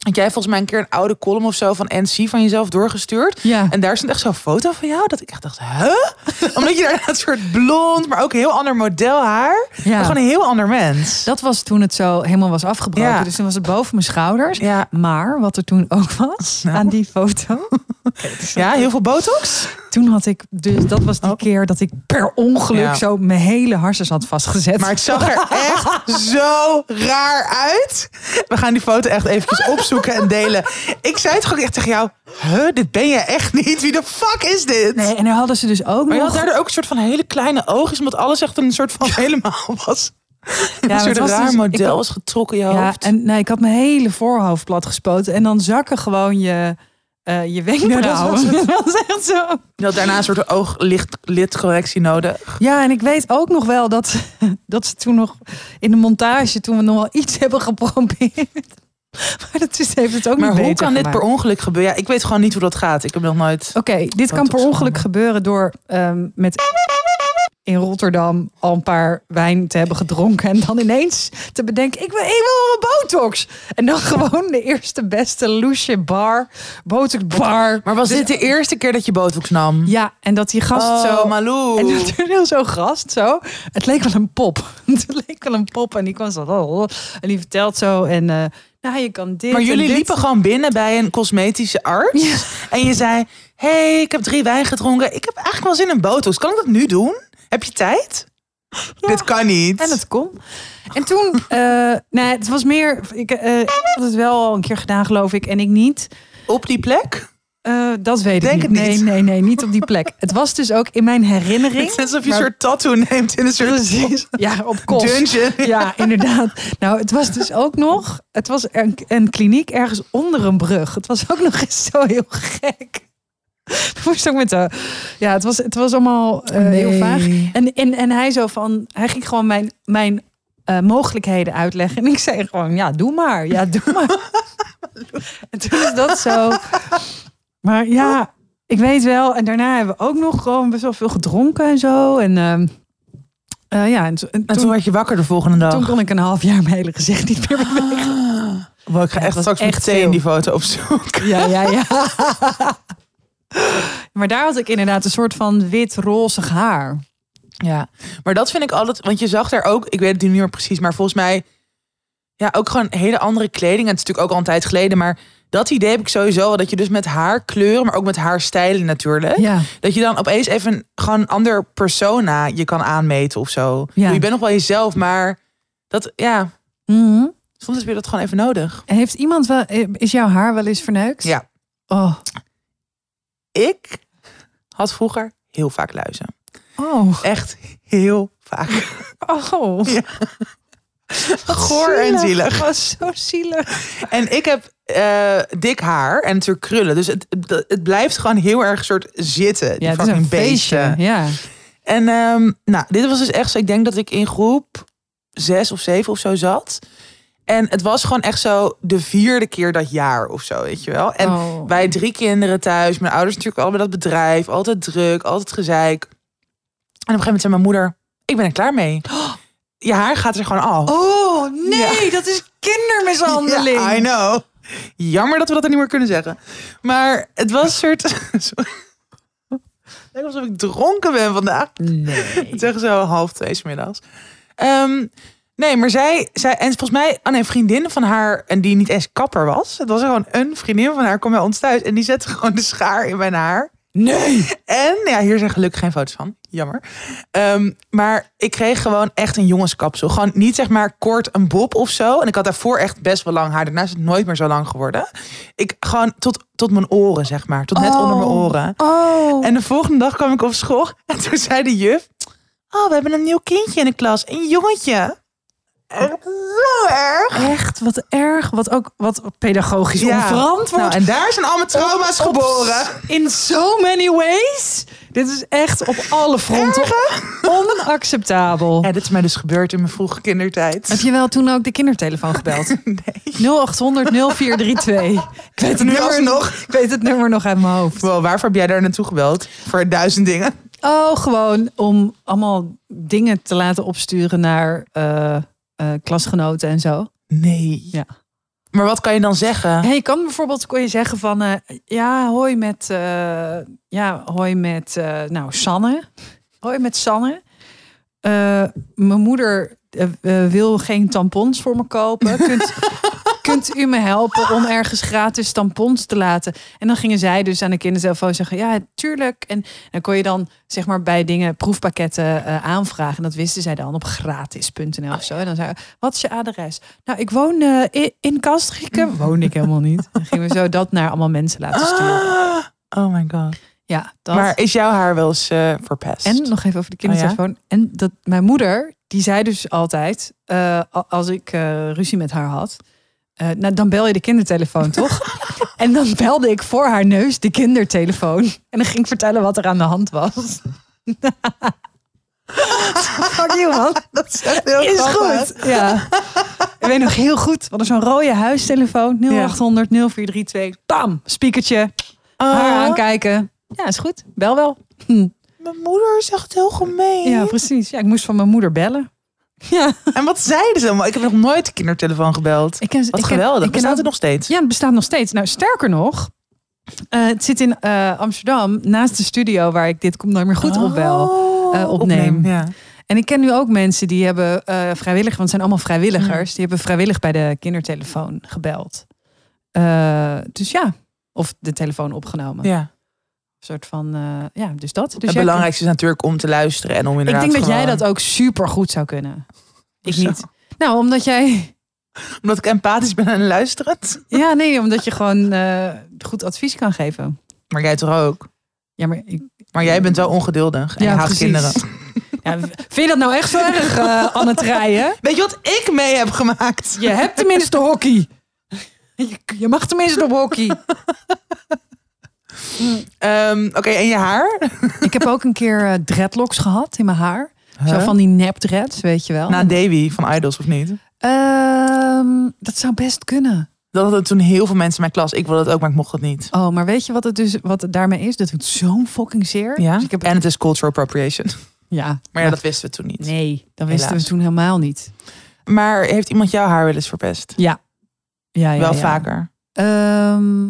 [SPEAKER 1] Had jij volgens mij een keer een oude column of zo van NC van jezelf doorgestuurd.
[SPEAKER 2] Ja.
[SPEAKER 1] En daar stond echt zo'n foto van jou. Dat ik echt dacht, huh? Omdat je daar dat soort blond, maar ook een heel ander model haar.
[SPEAKER 2] Ja.
[SPEAKER 1] maar Gewoon een heel ander mens.
[SPEAKER 2] Dat was toen het zo helemaal was afgebroken.
[SPEAKER 1] Ja.
[SPEAKER 2] Dus toen was het boven mijn schouders.
[SPEAKER 1] Ja.
[SPEAKER 2] Maar wat er toen ook was
[SPEAKER 1] Nou.
[SPEAKER 2] aan die foto.
[SPEAKER 1] ja, heel veel botox.
[SPEAKER 2] Toen had ik dus, dat was die
[SPEAKER 1] Oh.
[SPEAKER 2] keer dat ik per ongeluk
[SPEAKER 1] Ja.
[SPEAKER 2] zo mijn hele harses had vastgezet.
[SPEAKER 1] Maar het zag er echt zo raar uit. We gaan die foto echt eventjes opzoeken en delen. Ik zei het gewoon echt tegen jou. Huh, dit ben je echt niet. Wie de fuck is dit?
[SPEAKER 2] nee, en daar hadden ze dus ook
[SPEAKER 1] Maar je
[SPEAKER 2] nog.
[SPEAKER 1] had daardoor ook een soort van hele kleine oogjes. Omdat alles echt een soort van helemaal was.
[SPEAKER 2] maar
[SPEAKER 1] een
[SPEAKER 2] het
[SPEAKER 1] soort
[SPEAKER 2] was
[SPEAKER 1] raar
[SPEAKER 2] dus- ik
[SPEAKER 1] model
[SPEAKER 2] had-
[SPEAKER 1] was getrokken in je
[SPEAKER 2] ja,
[SPEAKER 1] hoofd.
[SPEAKER 2] en nee, ik had mijn hele voorhoofd plat gespoten. En dan zakken gewoon je, eh je wenkbrauwen.
[SPEAKER 1] Ja,
[SPEAKER 2] dat was echt zo.
[SPEAKER 1] Je had daarna een soort ooglidcorrectie nodig.
[SPEAKER 2] Ja, en ik weet ook nog wel dat, dat ze toen nog in de montage, toen we nog wel iets hebben geprobeerd. Maar dat is, heeft het ook
[SPEAKER 1] Maar
[SPEAKER 2] niet
[SPEAKER 1] hoe
[SPEAKER 2] beter
[SPEAKER 1] kan dit
[SPEAKER 2] gemaakt.
[SPEAKER 1] per ongeluk gebeuren? Ja, ik weet gewoon niet hoe dat gaat. Ik heb nog nooit...
[SPEAKER 2] Oké, dit kan per
[SPEAKER 1] Botox
[SPEAKER 2] ongeluk
[SPEAKER 1] genomen.
[SPEAKER 2] gebeuren door ehm, met in Rotterdam al een paar wijn te hebben gedronken en dan ineens te bedenken ik wil ik wil een botox en dan gewoon de eerste beste loesje bar botox bar.
[SPEAKER 1] Maar was dit de eerste keer dat je botox nam?
[SPEAKER 2] Ja, en dat die gast
[SPEAKER 1] Oh,
[SPEAKER 2] zo
[SPEAKER 1] Malou.
[SPEAKER 2] en dat er heel zo gast zo. Het leek wel een pop. Het leek wel een pop en die kwam zo oh, en die vertelt zo en eh, nou je kan dit.
[SPEAKER 1] Maar
[SPEAKER 2] en
[SPEAKER 1] jullie
[SPEAKER 2] dit.
[SPEAKER 1] liepen gewoon binnen bij een cosmetische arts.
[SPEAKER 2] Ja.
[SPEAKER 1] En je zei, hey, ik heb drie wijn gedronken. Ik heb eigenlijk wel zin in botox. Kan ik dat nu doen? Heb je tijd? Dit kan niet.
[SPEAKER 2] En het kon. En toen, eh, nee, het was meer. Ik eh, ik had het wel al een keer gedaan, geloof ik, en ik niet.
[SPEAKER 1] Op die plek?
[SPEAKER 2] Eh, dat weet
[SPEAKER 1] Denk
[SPEAKER 2] ik
[SPEAKER 1] het
[SPEAKER 2] niet.
[SPEAKER 1] niet.
[SPEAKER 2] Nee, nee, nee, niet op die plek. Het was dus ook in mijn herinnering.
[SPEAKER 1] Het is alsof je
[SPEAKER 2] maar-
[SPEAKER 1] een soort tattoo neemt in een soort
[SPEAKER 2] Ja, op kost.
[SPEAKER 1] dungeon.
[SPEAKER 2] Ja, inderdaad. Nou, het was dus ook nog. Het was een, een kliniek ergens onder een brug. Het was ook nog eens zo heel gek. Ik moest ook met de. Ja, het was, het was allemaal eh, heel vaag. En, en, en hij zo van. Hij ging gewoon mijn, mijn eh, mogelijkheden uitleggen. En ik zei gewoon: Ja, doe maar. Ja, doe maar. en toen is dat zo. Maar ja, ik weet wel. En daarna hebben we ook nog gewoon best wel veel gedronken en zo. En. ehm, eh, ja, en, to- en
[SPEAKER 1] En
[SPEAKER 2] toen
[SPEAKER 1] toen werd je wakker de volgende dag.
[SPEAKER 2] toen kon ik een half jaar mijn hele gezicht niet meer bewegen.
[SPEAKER 1] Wow, ik ga
[SPEAKER 2] het
[SPEAKER 1] echt
[SPEAKER 2] was
[SPEAKER 1] straks
[SPEAKER 2] echt
[SPEAKER 1] meteen
[SPEAKER 2] veel.
[SPEAKER 1] die foto opzoeken.
[SPEAKER 2] Ja, ja, ja. Maar daar had ik inderdaad een soort van wit-rozig haar.
[SPEAKER 1] Ja, maar dat vind ik altijd. Want je zag daar ook, ik weet het nu niet meer precies, maar volgens mij. Ja, ook gewoon hele andere kleding. En het is natuurlijk ook al een tijd geleden. Maar dat idee heb ik sowieso wel. Dat je dus met haarkleuren, maar ook met haarstijlen natuurlijk.
[SPEAKER 2] Ja.
[SPEAKER 1] Dat je dan opeens even een- gewoon een ander persona je kan aanmeten of zo.
[SPEAKER 2] Ja.
[SPEAKER 1] Je bent nog wel jezelf, maar dat, ja,
[SPEAKER 2] Mhm.
[SPEAKER 1] soms heb je dat gewoon even nodig.
[SPEAKER 2] Heeft iemand wel, eh, is jouw haar wel eens verneukt?
[SPEAKER 1] Ja,
[SPEAKER 2] Oh.
[SPEAKER 1] ik had vroeger heel vaak luizen.
[SPEAKER 2] Oh.
[SPEAKER 1] Echt heel vaak.
[SPEAKER 2] Oh.
[SPEAKER 1] Ja. Goor en zielig.
[SPEAKER 2] Was zo zielig.
[SPEAKER 1] En ik heb eh, dik haar en natuurlijk krullen. Dus het, het, het blijft gewoon heel erg soort zitten. Die
[SPEAKER 2] Ja, het is
[SPEAKER 1] fucking
[SPEAKER 2] een feestje.
[SPEAKER 1] beesten.
[SPEAKER 2] Ja.
[SPEAKER 1] En ehm, nou, dit was dus echt zo. Ik denk dat ik in groep zes of zeven of zo zat. En het was gewoon echt zo de vierde keer dat jaar of zo, weet je wel. En
[SPEAKER 2] Oh.
[SPEAKER 1] wij drie kinderen thuis. Mijn ouders natuurlijk al bij dat bedrijf. Altijd druk, altijd gezeik. En op een gegeven moment zei mijn moeder... Ik ben er klaar mee. Je haar gaat er gewoon af.
[SPEAKER 2] Oh, nee, dat is kindermishandeling.
[SPEAKER 1] Ja, I know. Jammer dat we dat er niet meer kunnen zeggen. Maar het was een soort... Sorry. Het lijkt alsof ik dronken ben vandaag.
[SPEAKER 2] Nee.
[SPEAKER 1] Het is echt zo half twee 's middags. Ehm, nee, maar zij, zij... En volgens mij... Oh nee, een vriendin van haar... En die niet eens kapper was. Het was gewoon een vriendin van haar. Kom bij ons thuis. En die zette gewoon de schaar in mijn haar.
[SPEAKER 2] Nee.
[SPEAKER 1] En ja, hier zijn gelukkig geen foto's van. Jammer. Ehm, maar ik kreeg gewoon echt een jongenskapsel. Gewoon niet zeg maar kort een bob of zo. En ik had daarvoor echt best wel lang haar. Daarna is het nooit meer zo lang geworden. Ik gewoon tot, tot mijn oren zeg maar. Tot net
[SPEAKER 2] Oh.
[SPEAKER 1] onder mijn oren.
[SPEAKER 2] Oh.
[SPEAKER 1] En de volgende dag kwam ik op school. En toen zei de juf. Oh, we hebben een nieuw kindje in de klas. Een jongetje. Echt zo erg.
[SPEAKER 2] Echt, wat erg. Wat ook wat pedagogisch onverantwoord.
[SPEAKER 1] Nou, en daar zijn al mijn trauma's
[SPEAKER 2] Op- op-
[SPEAKER 1] geboren.
[SPEAKER 2] In so many ways. Dit is echt op alle fronten onacceptabel.
[SPEAKER 1] Ja, dit is mij dus gebeurd in mijn vroege kindertijd.
[SPEAKER 2] Heb je wel toen ook de kindertelefoon gebeld? Nee. 0800 0432. Ik weet het
[SPEAKER 1] Nu
[SPEAKER 2] nummer
[SPEAKER 1] alsnog.
[SPEAKER 2] Ik weet het nummer nog uit mijn hoofd.
[SPEAKER 1] Wel, waarvoor heb jij daar naartoe gebeld? Voor duizend dingen.
[SPEAKER 2] Oh, gewoon om allemaal dingen te laten opsturen naar eh, eh, klasgenoten en zo.
[SPEAKER 1] Nee.
[SPEAKER 2] Ja.
[SPEAKER 1] Maar wat kan je dan zeggen?
[SPEAKER 2] Ja, je kan bijvoorbeeld kon je zeggen van eh, ja, hoi met, eh, ja, hoi met eh, nou, Sanne. Hoi met Sanne. Eh, mijn moeder eh, eh, wil geen tampons voor me kopen. Kunt, kunt u me helpen om ergens gratis tampons te laten? En dan gingen zij dus aan de kindertelefoon zeggen: Ja, tuurlijk. En dan kon je dan zeg maar bij dingen proefpakketten eh, aanvragen. En dat wisten zij dan op gratis.nl of zo. En dan zei: Wat is je adres? Nou, ik woon eh, in, in Kastrikum. Woon ik helemaal niet. Dan gingen we zo dat naar allemaal mensen laten sturen.
[SPEAKER 1] Ah, oh my god.
[SPEAKER 2] Ja, dat.
[SPEAKER 1] Maar is jouw haar wel eens eh, verpest?
[SPEAKER 2] En nog even over
[SPEAKER 1] Oh
[SPEAKER 2] de kindertelefoon. En dat mijn moeder, die zei dus altijd, eh, a- als ik eh, ruzie met haar had, eh, nou, dan bel je de kindertelefoon, toch? en dan belde ik voor haar neus de kindertelefoon. En dan ging ik vertellen wat er aan de hand was. Fuck you, man.
[SPEAKER 1] dat is echt heel
[SPEAKER 2] Is
[SPEAKER 1] grappig.
[SPEAKER 2] goed. Ja. Ik weet nog heel goed. We hadden zo'n rode huistelefoon. 0800 0432. Bam. Speakertje. Haar
[SPEAKER 1] Ah,
[SPEAKER 2] aankijken. Ja, is goed. Bel wel.
[SPEAKER 1] mijn moeder is echt heel gemeen.
[SPEAKER 2] Ja, precies. Ja, ik moest van mijn moeder bellen. Ja.
[SPEAKER 1] En wat zeiden ze allemaal? Ik heb nog nooit de kindertelefoon gebeld.
[SPEAKER 2] Ik ken,
[SPEAKER 1] Wat
[SPEAKER 2] ik ken-
[SPEAKER 1] geweldig.
[SPEAKER 2] ik ken
[SPEAKER 1] Bestaat
[SPEAKER 2] ook-
[SPEAKER 1] het nog steeds?
[SPEAKER 2] Ja, het bestaat nog steeds. Nou, sterker nog, eh, het zit in eh, Amsterdam, naast de studio waar ik dit komt nooit meer goed op bel.
[SPEAKER 1] Oh,
[SPEAKER 2] eh, opneem.
[SPEAKER 1] Ja.
[SPEAKER 2] En ik ken nu ook mensen die hebben eh vrijwillig, want het zijn allemaal vrijwilligers, die hebben vrijwillig bij de kindertelefoon gebeld. Eh, dus ja, of de telefoon opgenomen.
[SPEAKER 1] ja.
[SPEAKER 2] Een soort van, eh, ja, dus dat. Dus
[SPEAKER 1] het
[SPEAKER 2] jij-
[SPEAKER 1] belangrijkste is natuurlijk om te luisteren en om
[SPEAKER 2] Ik
[SPEAKER 1] inderdaad
[SPEAKER 2] denk dat jij
[SPEAKER 1] gewoon-
[SPEAKER 2] dat ook super goed zou kunnen. Ik
[SPEAKER 1] Hoezo?
[SPEAKER 2] niet. Nou, omdat jij
[SPEAKER 1] Omdat ik empathisch ben en luisterend.
[SPEAKER 2] Ja, nee, omdat je gewoon eh, goed advies kan geven.
[SPEAKER 1] Maar jij toch ook?
[SPEAKER 2] Ja, maar ik,
[SPEAKER 1] Maar jij bent wel ongeduldig en
[SPEAKER 2] Hmm. ja,
[SPEAKER 1] je haat
[SPEAKER 2] precies.
[SPEAKER 1] kinderen.
[SPEAKER 2] Ja, v- vind je dat nou echt zo erg, eh, Anne Treien?
[SPEAKER 1] Weet je wat ik mee heb gemaakt?
[SPEAKER 2] Je hebt tenminste hockey. Je, je mag tenminste op hockey.
[SPEAKER 1] Ehm, Oké, en je haar?
[SPEAKER 2] Ik heb ook een keer eh, dreadlocks gehad in mijn haar. Zo
[SPEAKER 1] Huh?
[SPEAKER 2] van die nep dreads, weet je wel.
[SPEAKER 1] Na Davy van Idols of niet?
[SPEAKER 2] Ehm, dat zou best kunnen.
[SPEAKER 1] Dat hadden toen heel veel mensen in mijn klas. Ik wilde het ook, maar ik mocht het niet.
[SPEAKER 2] Oh, maar weet je wat het dus wat het daarmee is? Dat doet zo'n fucking zeer.
[SPEAKER 1] Ja?
[SPEAKER 2] Dus ik heb,
[SPEAKER 1] En het is cultural appropriation.
[SPEAKER 2] ja.
[SPEAKER 1] Maar ja, dat wisten we toen niet.
[SPEAKER 2] Nee, dat wisten
[SPEAKER 1] Helaas.
[SPEAKER 2] we toen helemaal niet.
[SPEAKER 1] Maar heeft iemand jouw haar wel eens verpest?
[SPEAKER 2] Ja. ja, ja
[SPEAKER 1] wel
[SPEAKER 2] ja.
[SPEAKER 1] vaker.
[SPEAKER 2] Ehm,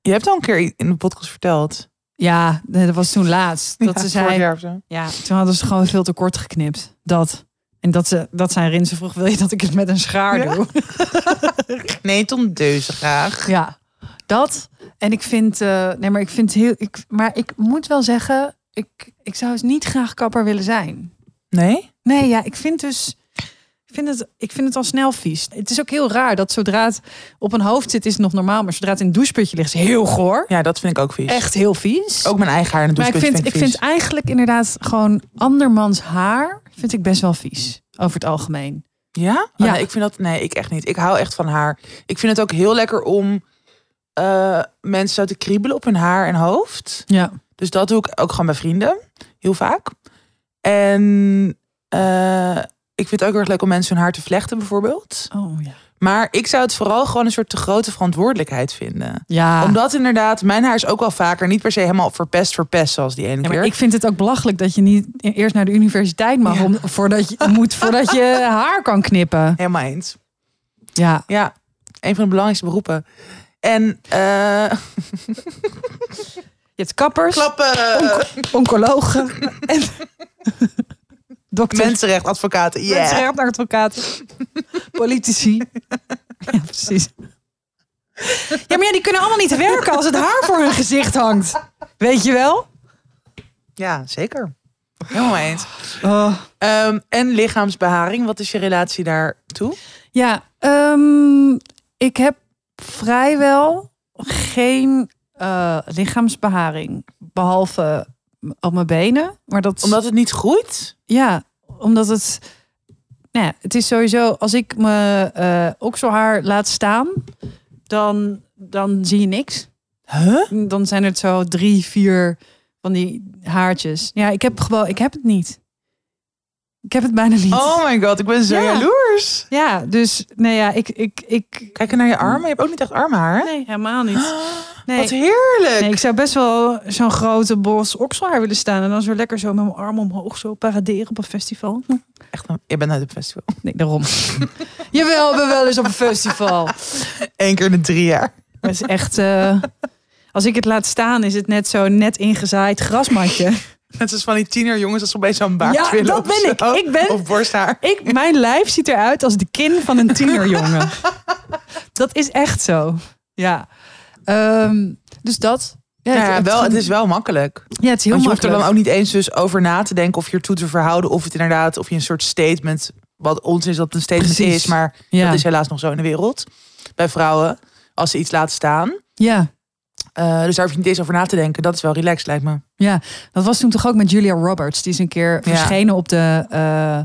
[SPEAKER 1] Je hebt al een keer in de podcast verteld.
[SPEAKER 2] Ja, nee, dat was toen laatst. Dat ze zei. Ja, toen hadden ze gewoon veel te kort geknipt. Dat. En dat, ze, dat zijn Rinse vroeg: wil je dat ik het met een schaar
[SPEAKER 1] Ja.
[SPEAKER 2] doe?
[SPEAKER 1] Nee, Tom Deuze graag.
[SPEAKER 2] Ja, dat. En ik vind. eh, nee, maar ik vind heel. Ik, maar ik moet wel zeggen. Ik, ik zou eens niet graag kapper willen zijn.
[SPEAKER 1] Nee?
[SPEAKER 2] Nee, ja, ik vind dus. Ik vind, het, ik vind het al snel vies. Het is ook heel raar dat zodra het op een hoofd zit, is het nog normaal. Maar zodra het in een doucheputje ligt, is het heel goor.
[SPEAKER 1] Ja, dat vind ik ook vies.
[SPEAKER 2] Echt heel vies.
[SPEAKER 1] Ook mijn eigen haar in de
[SPEAKER 2] Maar ik vind,
[SPEAKER 1] doucheput
[SPEAKER 2] ik
[SPEAKER 1] vind ik
[SPEAKER 2] vind eigenlijk inderdaad gewoon andermans haar vind ik best wel vies. Over het algemeen.
[SPEAKER 1] vies. Ja? Oh,
[SPEAKER 2] Ja.
[SPEAKER 1] nee, ik vind dat... Nee, ik echt niet. Ik hou echt van haar. Ik vind het ook heel lekker om eh, mensen zo te kriebelen op hun haar en hoofd.
[SPEAKER 2] Ja.
[SPEAKER 1] Dus dat doe ik ook gewoon bij vrienden. Heel vaak. En eh, ik vind het ook heel erg leuk om mensen hun haar te vlechten bijvoorbeeld.
[SPEAKER 2] Oh ja.
[SPEAKER 1] Maar ik zou het vooral gewoon een soort te grote verantwoordelijkheid vinden.
[SPEAKER 2] Ja.
[SPEAKER 1] Omdat inderdaad, mijn haar is ook wel vaker niet per se helemaal verpest, verpest zoals die ene
[SPEAKER 2] Ja,
[SPEAKER 1] keer.
[SPEAKER 2] maar ik vind het ook belachelijk dat je niet eerst naar de universiteit mag
[SPEAKER 1] Ja.
[SPEAKER 2] om, voordat, je, moet, voordat je haar kan knippen.
[SPEAKER 1] Helemaal eens.
[SPEAKER 2] Ja.
[SPEAKER 1] Ja, een van de belangrijkste beroepen. En eh,
[SPEAKER 2] Je hebt kappers,
[SPEAKER 1] klappen,
[SPEAKER 2] oncologen en dokters,
[SPEAKER 1] mensenrechtadvocaten. Yeah.
[SPEAKER 2] mensenrechtenadvocaten, politici. Ja, precies. Ja, maar ja, die kunnen allemaal niet werken als het haar voor hun gezicht hangt. Weet je wel?
[SPEAKER 1] Ja, zeker. Helemaal eens.
[SPEAKER 2] Oh.
[SPEAKER 1] Ehm, en lichaamsbeharing, wat is je relatie daartoe?
[SPEAKER 2] Ja, ehm, ik heb vrijwel geen eh, lichaamsbeharing. Behalve m- op mijn benen. Maar dat,
[SPEAKER 1] Omdat het niet groeit?
[SPEAKER 2] ja, omdat het. Nou ja, het is sowieso, als ik mijn eh okselhaar laat staan, dan, dan zie je niks.
[SPEAKER 1] Huh?
[SPEAKER 2] Dan zijn het zo drie, vier van die haartjes. Ja, ik heb gewoon, ik heb het niet. Ik heb het bijna niet.
[SPEAKER 1] Oh my god, ik ben zo
[SPEAKER 2] Ja.
[SPEAKER 1] jaloers.
[SPEAKER 2] Ja, dus nou ja, ik, ik, ik...
[SPEAKER 1] Kijk naar je armen. Je hebt ook niet echt armhaar. hè?
[SPEAKER 2] Nee, helemaal niet. Nee.
[SPEAKER 1] Wat heerlijk.
[SPEAKER 2] Nee, ik zou best wel zo'n grote bos okselhaar willen staan. En dan zo lekker zo met mijn arm omhoog zo paraderen op een festival.
[SPEAKER 1] Echt, een- je bent uit het festival.
[SPEAKER 2] Nee, daarom. Jawel, we wel eens op een festival.
[SPEAKER 1] Eén keer in de drie jaar.
[SPEAKER 2] Dat is echt... eh, als ik het laat staan, is het net zo net ingezaaid grasmatje.
[SPEAKER 1] Net als van die tiener jongens dat ze opeens zo'n baard
[SPEAKER 2] Ja,
[SPEAKER 1] willen.
[SPEAKER 2] dat
[SPEAKER 1] of
[SPEAKER 2] ben ik.
[SPEAKER 1] zo.
[SPEAKER 2] Ik ben-
[SPEAKER 1] Of borsthaar.
[SPEAKER 2] Ik, mijn lijf ziet eruit als de kin van een tienerjongen. Dat is echt zo. Ja. Ehm, dus dat. Ja,
[SPEAKER 1] Nou Ja,
[SPEAKER 2] ik-
[SPEAKER 1] wel, het is wel makkelijk.
[SPEAKER 2] Ja, het is heel
[SPEAKER 1] Want je hoeft er
[SPEAKER 2] makkelijk.
[SPEAKER 1] dan ook niet eens dus over na te denken of je ertoe te verhouden. Of het inderdaad, of je een soort statement, wat ons is dat het een statement
[SPEAKER 2] Precies.
[SPEAKER 1] is. Maar
[SPEAKER 2] ja.
[SPEAKER 1] dat is helaas nog zo in de wereld. Bij vrouwen, als ze iets laten staan.
[SPEAKER 2] ja.
[SPEAKER 1] Eh, dus daar hoef je niet eens over na te denken. Dat is wel relaxed, lijkt me.
[SPEAKER 2] Ja, dat was toen toch ook met Julia Roberts. Die is een keer
[SPEAKER 1] Ja.
[SPEAKER 2] verschenen op de... eh,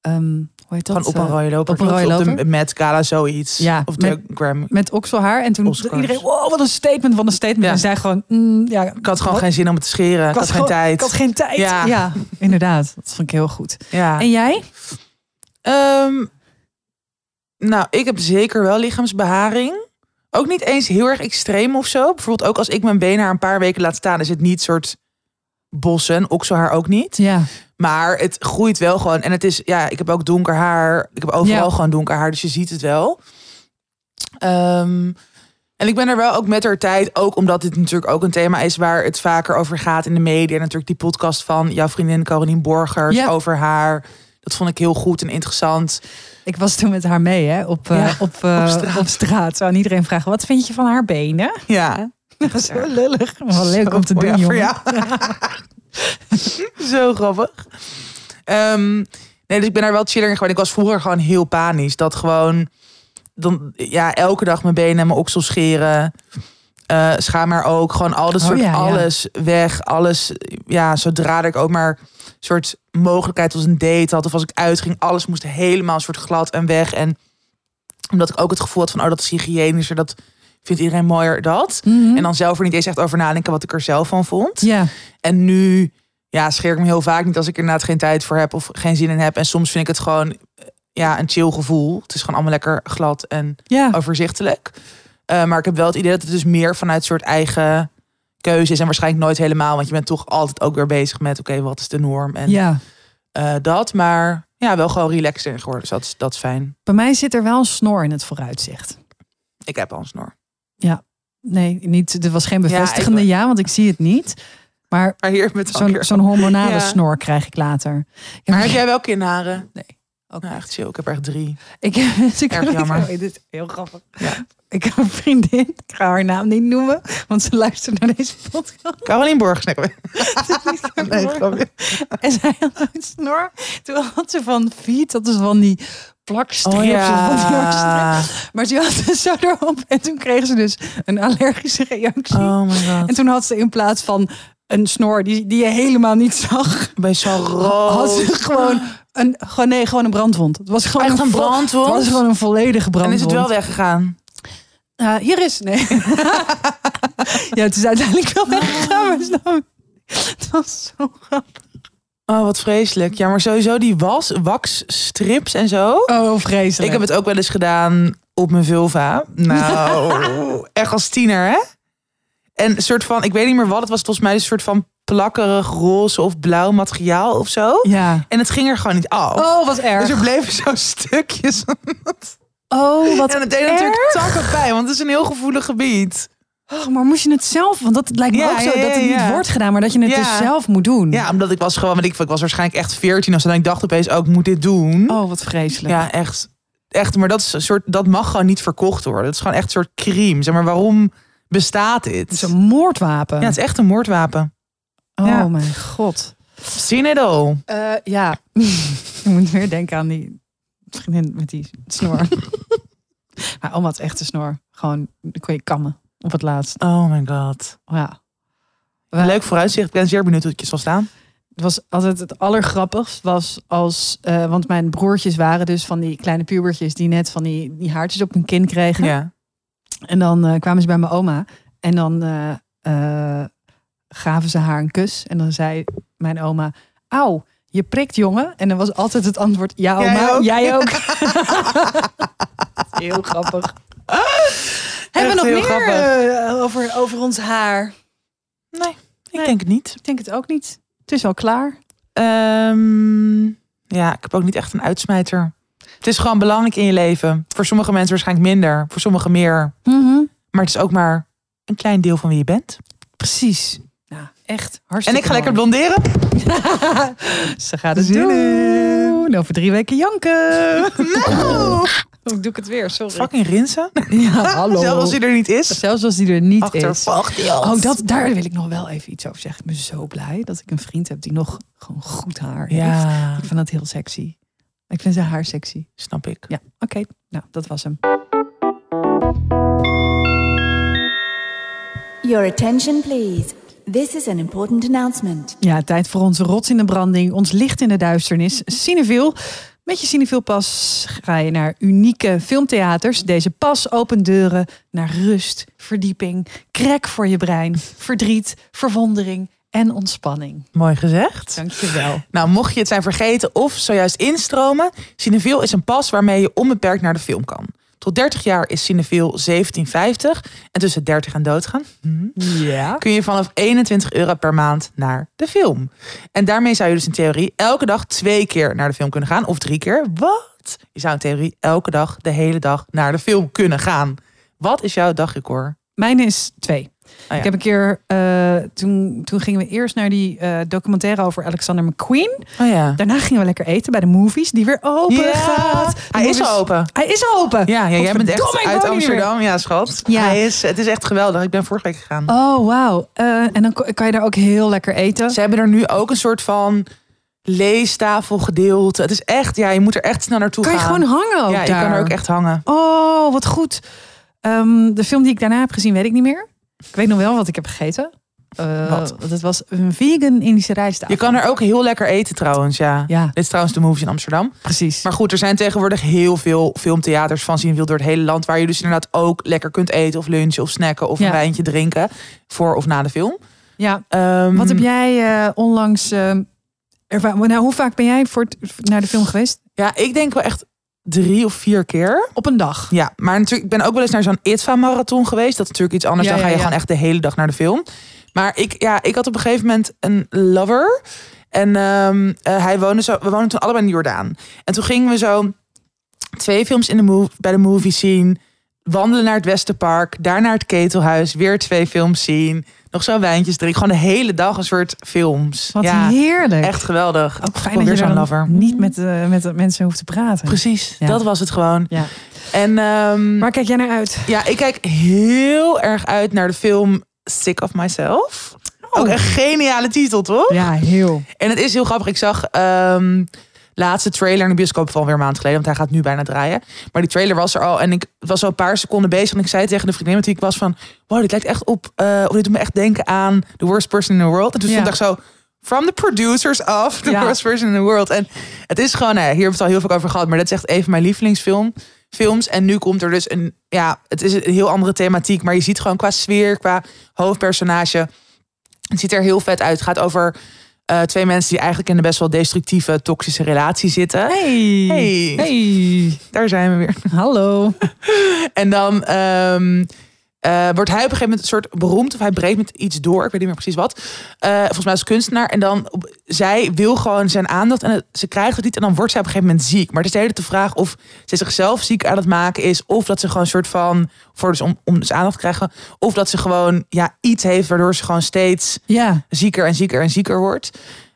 [SPEAKER 2] ehm, hoe heet dat?
[SPEAKER 1] Van op een
[SPEAKER 2] Eh,
[SPEAKER 1] rode loper.
[SPEAKER 2] op een
[SPEAKER 1] toch?
[SPEAKER 2] rode
[SPEAKER 1] de
[SPEAKER 2] loper?
[SPEAKER 1] Met Gala, zoiets.
[SPEAKER 2] Ja,
[SPEAKER 1] of de Grammy.
[SPEAKER 2] met okselhaar. En toen
[SPEAKER 1] Oscars.
[SPEAKER 2] iedereen, wow, wat een statement, wat een statement.
[SPEAKER 1] Ja.
[SPEAKER 2] En zij gewoon, mm, ja,
[SPEAKER 1] Ik had gewoon
[SPEAKER 2] Wat?
[SPEAKER 1] geen zin om het te scheren. Ik had, geen
[SPEAKER 2] gewoon-
[SPEAKER 1] tijd.
[SPEAKER 2] Ik had geen tijd. Ja,
[SPEAKER 1] Ja.
[SPEAKER 2] inderdaad. Dat vond ik heel goed.
[SPEAKER 1] Ja.
[SPEAKER 2] En jij?
[SPEAKER 1] Ehm, nou, ik heb zeker wel lichaamsbeharing. Ook niet eens heel erg extreem of zo. Bijvoorbeeld ook als ik mijn benen haar een paar weken laat staan... is het niet soort bossen, okselhaar ook niet.
[SPEAKER 2] Ja,
[SPEAKER 1] Maar het groeit wel gewoon. En het is, ja, ik heb ook donker haar. Ik heb overal
[SPEAKER 2] Ja.
[SPEAKER 1] gewoon donker haar, dus je ziet het wel. Ehm, en ik ben er wel ook met haar tijd, ook omdat dit natuurlijk ook een thema is waar het vaker over gaat in de media. En natuurlijk die podcast van jouw vriendin Caroline Borgers
[SPEAKER 2] Ja.
[SPEAKER 1] over haar. Dat vond ik heel goed en interessant.
[SPEAKER 2] ik was toen met haar mee hè, op, eh,
[SPEAKER 1] Ja,
[SPEAKER 2] op, eh,
[SPEAKER 1] op
[SPEAKER 2] op
[SPEAKER 1] straat.
[SPEAKER 2] straat. Zo aan iedereen vragen, wat vind je van haar benen?
[SPEAKER 1] Ja,
[SPEAKER 2] Dat is zo lullig. Maar Wel leuk
[SPEAKER 1] Zo
[SPEAKER 2] om te
[SPEAKER 1] mooi,
[SPEAKER 2] doen,
[SPEAKER 1] ja, voor
[SPEAKER 2] jongen.
[SPEAKER 1] jou. Zo grappig. Ehm, nee, dus ik ben daar wel chiller in geworden. Ik was vroeger gewoon heel panisch. Dat gewoon, dan, ja, elke dag mijn benen en mijn oksel scheren. Eh schaam maar ook. Gewoon al dat
[SPEAKER 2] Oh,
[SPEAKER 1] soort,
[SPEAKER 2] ja, ja.
[SPEAKER 1] alles weg. Alles, ja, zodra ik ook maar soort mogelijkheid als een date had. Of als ik uitging, alles moest helemaal soort glad en weg. En omdat ik ook het gevoel had van, oh, dat is hygiënischer. Dat vindt iedereen mooier, dat.
[SPEAKER 2] Mhm.
[SPEAKER 1] En dan zelf er niet eens echt over nadenken wat ik er zelf van vond.
[SPEAKER 2] Ja,
[SPEAKER 1] En nu ja, scheer ik me heel vaak niet als ik er inderdaad geen tijd voor heb of geen zin in heb. En soms vind ik het gewoon eh, ja, een chill gevoel. Het is gewoon allemaal lekker glad en
[SPEAKER 2] ja.
[SPEAKER 1] overzichtelijk. Eh, maar ik heb wel het idee dat het dus meer vanuit soort eigen keuze is. En waarschijnlijk nooit helemaal, want je bent toch altijd ook weer bezig met... oké, wat is de norm en
[SPEAKER 2] ja.
[SPEAKER 1] eh, dat. Maar ja, wel gewoon relaxed in geworden, dus dat is, dat is fijn.
[SPEAKER 2] Bij mij zit er wel een snor in het vooruitzicht.
[SPEAKER 1] Ik heb al een snor.
[SPEAKER 2] Nee, niet, er was geen
[SPEAKER 1] ik-
[SPEAKER 2] bevestigende ja, want ik zie het niet. Maar
[SPEAKER 1] Maar hier met zo'n
[SPEAKER 2] zo'n zo'n hormonale
[SPEAKER 1] Ja.
[SPEAKER 2] snor krijg ik later. Ik heb
[SPEAKER 1] Maar heb jij wel kinderharen?
[SPEAKER 2] ook
[SPEAKER 1] Nou,
[SPEAKER 2] niet.
[SPEAKER 1] echt chill. Ik heb er echt drie.
[SPEAKER 2] Ik, dus ik
[SPEAKER 1] Erg
[SPEAKER 2] kan niet-
[SPEAKER 1] jammer.
[SPEAKER 2] oh, dit is heel grappig.
[SPEAKER 1] Ja.
[SPEAKER 2] Ik heb een vriendin, ik ga haar naam niet noemen, want ze luistert naar deze podcast.
[SPEAKER 1] Caroline Borg, nee, hoor. nee, grapje.
[SPEAKER 2] en zij had een snor. Toen had ze van Viet, dat is van die
[SPEAKER 1] Oh
[SPEAKER 2] plakstrips. of van die horststrips. Maar ze had ze zo erop en toen kreeg ze dus een allergische reactie.
[SPEAKER 1] Oh my god.
[SPEAKER 2] En toen had ze in plaats van een snor die, die je helemaal niet zag,
[SPEAKER 1] Bij zo'n
[SPEAKER 2] had
[SPEAKER 1] rood.
[SPEAKER 2] ze gewoon een, gewoon, nee, gewoon een brandwond. Het was gewoon
[SPEAKER 1] Echt een
[SPEAKER 2] vo-
[SPEAKER 1] brandwond?
[SPEAKER 2] Het was gewoon een volledige brandwond.
[SPEAKER 1] En is het wel weggegaan?
[SPEAKER 2] Eh, hier is, nee. ja, het is uiteindelijk wel weggegaan. maar het is nou- Het was zo grappig.
[SPEAKER 1] Oh, wat vreselijk. Ja, maar sowieso die was, waxstrips en zo.
[SPEAKER 2] Oh, vreselijk.
[SPEAKER 1] Ik heb het ook wel eens gedaan op mijn vulva. Nou, echt als tiener, hè? En een soort van, ik weet niet meer wat, het was volgens mij een soort van plakkerig roze of blauw materiaal of zo.
[SPEAKER 2] Ja.
[SPEAKER 1] En het ging er gewoon niet af.
[SPEAKER 2] Oh, wat erg.
[SPEAKER 1] Dus er bleven zo stukjes.
[SPEAKER 2] Oh, wat
[SPEAKER 1] en het deed
[SPEAKER 2] erg.
[SPEAKER 1] natuurlijk takken bij, want het is een heel gevoelig gebied.
[SPEAKER 2] Oh, maar moest je het zelf? Want dat lijkt me
[SPEAKER 1] Ja,
[SPEAKER 2] ook zo
[SPEAKER 1] ja,
[SPEAKER 2] dat het
[SPEAKER 1] ja, ja.
[SPEAKER 2] niet wordt gedaan, maar dat je het
[SPEAKER 1] Ja.
[SPEAKER 2] dus zelf moet doen.
[SPEAKER 1] Ja, omdat ik was gewoon, want ik, ik was waarschijnlijk echt 14 of zo. En ik dacht opeens, ook ik moet dit doen.
[SPEAKER 2] Oh, wat vreselijk.
[SPEAKER 1] Ja, echt. Echt, maar dat, is een soort, dat mag gewoon niet verkocht worden. Het is gewoon echt een soort crime. Zeg maar, waarom bestaat dit?
[SPEAKER 2] Het is een moordwapen.
[SPEAKER 1] Ja, het is echt een moordwapen.
[SPEAKER 2] oh,
[SPEAKER 1] ja.
[SPEAKER 2] mijn god.
[SPEAKER 1] Seen it all.
[SPEAKER 2] Eh, ja, ik moet weer denken aan die vriendin met die snor. maar oma had echt een snor. Gewoon, die kon je kammen op het laatst.
[SPEAKER 1] Oh my god.
[SPEAKER 2] Ja. Wel-
[SPEAKER 1] Leuk vooruitzicht. Ik ben zeer benieuwd hoe het je zal staan.
[SPEAKER 2] Het was altijd het allergrappigst was als, eh, want mijn broertjes waren dus van die kleine pubertjes die net van die, die haartjes op hun kin kregen.
[SPEAKER 1] Ja.
[SPEAKER 2] En dan eh, kwamen ze bij mijn oma en dan eh, eh, gaven ze haar een kus en dan zei mijn oma, auw, je prikt jongen? En dan was altijd het antwoord, ja
[SPEAKER 1] Jij
[SPEAKER 2] oma, jij ook.
[SPEAKER 1] ook?
[SPEAKER 2] heel grappig.
[SPEAKER 1] Echt
[SPEAKER 2] Hebben we nog
[SPEAKER 1] heel
[SPEAKER 2] meer
[SPEAKER 1] grappig.
[SPEAKER 2] eh, over, over ons haar?
[SPEAKER 1] Nee, ik
[SPEAKER 2] Nee.
[SPEAKER 1] denk het niet.
[SPEAKER 2] Ik denk het ook niet. Het is al klaar.
[SPEAKER 1] Ehm, ja, ik heb ook niet echt een uitsmijter. Het is gewoon belangrijk in je leven. Voor sommige mensen waarschijnlijk minder, voor sommigen meer.
[SPEAKER 2] Mhm.
[SPEAKER 1] Maar het is ook maar een klein deel van wie je bent.
[SPEAKER 2] Precies. Ja, echt
[SPEAKER 1] En
[SPEAKER 2] hartstikke
[SPEAKER 1] ik ga lekker
[SPEAKER 2] mooi.
[SPEAKER 1] blonderen.
[SPEAKER 2] Ze gaat het
[SPEAKER 1] Zin
[SPEAKER 2] doen. Over drie weken janken.
[SPEAKER 1] Nou,
[SPEAKER 2] Oh, ik doe ik het weer, sorry.
[SPEAKER 1] fucking rinsen.
[SPEAKER 2] Ja, hallo.
[SPEAKER 1] Zelfs als hij er niet is.
[SPEAKER 2] Zelfs als die er niet is.
[SPEAKER 1] Achtervolgt hij ons.
[SPEAKER 2] Oh, dat, daar wil ik nog wel even iets over zeggen. Ik ben zo blij dat ik een vriend heb die nog gewoon goed haar heeft.
[SPEAKER 1] Ja,
[SPEAKER 2] Ik vind dat heel sexy. Ik vind zijn haar sexy.
[SPEAKER 1] snap ik.
[SPEAKER 2] Ja, oké. Nou, dat was hem.
[SPEAKER 3] Your attention, please. This is an important announcement.
[SPEAKER 2] Ja, tijd voor onze rots in de branding, ons licht in de duisternis. Cineville. Met je Cineville pas ga je naar unieke filmtheaters. Deze pas opent deuren naar rust, verdieping, crack voor je brein, verdriet, verwondering en ontspanning.
[SPEAKER 1] Mooi gezegd.
[SPEAKER 2] Dankjewel.
[SPEAKER 1] Nou, mocht je het zijn vergeten of zojuist instromen, Cineville is een pas waarmee je onbeperkt naar de film kan. Tot 30 jaar is Cineville 1750 en tussen 30 en doodgaan hm,
[SPEAKER 2] Ja.
[SPEAKER 1] kun je vanaf 21 euro per maand naar de film. En daarmee zou je dus in theorie elke dag twee keer naar de film kunnen gaan of drie keer. Wat? Je zou in theorie elke dag de hele dag naar de film kunnen gaan. Wat is jouw dagrecord?
[SPEAKER 2] Mijn is twee.
[SPEAKER 1] Ah, ja.
[SPEAKER 2] Ik heb een keer, eh, toen, toen gingen we eerst naar die eh, documentaire over Alexander McQueen.
[SPEAKER 1] Oh ja.
[SPEAKER 2] Daarna gingen we lekker eten bij de movies, die weer open
[SPEAKER 1] Ja.
[SPEAKER 2] gaat. De
[SPEAKER 1] Hij is
[SPEAKER 2] movies-
[SPEAKER 1] al open.
[SPEAKER 2] Hij is al open.
[SPEAKER 1] Ja, ja jij bent
[SPEAKER 2] Godverdomme,
[SPEAKER 1] echt
[SPEAKER 2] ik
[SPEAKER 1] uit
[SPEAKER 2] woon hier weer.
[SPEAKER 1] Amsterdam. Ja, schat.
[SPEAKER 2] Ja.
[SPEAKER 1] Hij is, het is echt geweldig. Ik ben vorige week gegaan.
[SPEAKER 2] Oh, wauw. Eh, en dan ko- kan je daar ook heel lekker eten.
[SPEAKER 1] Ze hebben er nu ook een soort van leestafelgedeelte. Het is echt, ja, je moet er echt snel naartoe
[SPEAKER 2] Kan je
[SPEAKER 1] gaan.
[SPEAKER 2] gewoon hangen ook
[SPEAKER 1] ja, je
[SPEAKER 2] daar.
[SPEAKER 1] kan er ook echt hangen.
[SPEAKER 2] Oh, wat goed. Ehm, de film die ik daarna heb gezien, weet ik niet meer. Ik weet nog wel wat ik heb gegeten. Eh,
[SPEAKER 1] Wat?
[SPEAKER 2] want Het was een vegan Indische rijstafel.
[SPEAKER 1] Je kan er ook heel lekker eten trouwens, ja.
[SPEAKER 2] Ja,
[SPEAKER 1] Dit is trouwens de movies in Amsterdam.
[SPEAKER 2] precies.
[SPEAKER 1] Maar goed, er zijn tegenwoordig heel veel filmtheaters van zien wil door het hele land. Waar je dus inderdaad ook lekker kunt eten of lunchen of snacken of
[SPEAKER 2] Ja.
[SPEAKER 1] een wijntje drinken. Voor of na de film.
[SPEAKER 2] ja.
[SPEAKER 1] Ehm,
[SPEAKER 2] Wat heb jij eh, onlangs... ehm erva- nou, hoe vaak ben jij voor het- naar de film geweest?
[SPEAKER 1] Ja, ik denk wel echt drie of vier keer.
[SPEAKER 2] Op een dag.
[SPEAKER 1] Ja, maar natuurlijk, ik ben ook wel eens naar zo'n ITVA-marathon geweest. Dat is natuurlijk iets anders.
[SPEAKER 2] Ja,
[SPEAKER 1] dan
[SPEAKER 2] ja,
[SPEAKER 1] ga je
[SPEAKER 2] ja.
[SPEAKER 1] gewoon echt de hele dag naar de film. Maar ik, ja, ik had op een gegeven moment een lover. En ehm, eh, hij woonde zo, we woonden toen allebei in de Jordaan. En toen gingen we zo twee films in de move, bij de movie zien. Wandelen naar het Westenpark. Daar naar het Ketelhuis. Weer twee films zien. Nog zo wijntjes drinken. Gewoon de hele dag een soort films.
[SPEAKER 2] Wat
[SPEAKER 1] ja,
[SPEAKER 2] heerlijk.
[SPEAKER 1] echt geweldig.
[SPEAKER 2] Ook fijn
[SPEAKER 1] Gewoon
[SPEAKER 2] dat
[SPEAKER 1] weer
[SPEAKER 2] je
[SPEAKER 1] zo'n
[SPEAKER 2] dan
[SPEAKER 1] lover.
[SPEAKER 2] niet met, eh, met de mensen hoeft te praten.
[SPEAKER 1] Precies,
[SPEAKER 2] Ja.
[SPEAKER 1] dat was het gewoon.
[SPEAKER 2] Ja.
[SPEAKER 1] En, ehm,
[SPEAKER 2] Waar kijk jij naar uit?
[SPEAKER 1] Ja, ik kijk heel erg uit naar de film Sick of Myself. Ook een geniale titel, toch?
[SPEAKER 2] Ja, heel.
[SPEAKER 1] En het is heel grappig. Ik zag ehm laatste trailer in de bioscoop van weer een maand geleden. Want hij gaat nu bijna draaien. Maar die trailer was er al. En ik was al een paar seconden bezig. En ik zei tegen de vriendin met wie ik was van... Wow, dit lijkt echt op... eh, of dit doet me echt denken aan The Worst Person in the World. En toen
[SPEAKER 2] Ja.
[SPEAKER 1] stond ik zo... From the producers of The
[SPEAKER 2] Ja.
[SPEAKER 1] Worst Person in the World. En het is gewoon... Nou ja, hier hebben we het al heel veel over gehad. Maar dat is echt een van mijn lievelingsfilms. Films. En nu komt er dus een... Ja, het is een heel andere thematiek. Maar je ziet gewoon qua sfeer, qua hoofdpersonage... Het ziet er heel vet uit. Het gaat over eh, twee mensen die eigenlijk in een best wel destructieve, toxische relatie zitten.
[SPEAKER 2] Hey.
[SPEAKER 1] Hey.
[SPEAKER 2] Hey.
[SPEAKER 1] Daar zijn we weer.
[SPEAKER 2] Hallo.
[SPEAKER 1] En dan ehm, eh, wordt hij op een gegeven moment een soort beroemd. Of hij breekt met iets door. Ik weet niet meer precies wat. Eh, volgens mij als kunstenaar. En dan op- zij wil gewoon zijn aandacht. En het- ze krijgt het niet. En dan wordt zij op een gegeven moment ziek. Maar het is de hele de vraag of ze zichzelf ziek aan het maken is. Of dat ze gewoon een soort van. Voor dus om, om dus aandacht te krijgen. Of dat ze gewoon ja, iets heeft waardoor ze gewoon steeds
[SPEAKER 2] Ja.
[SPEAKER 1] zieker en zieker en zieker wordt.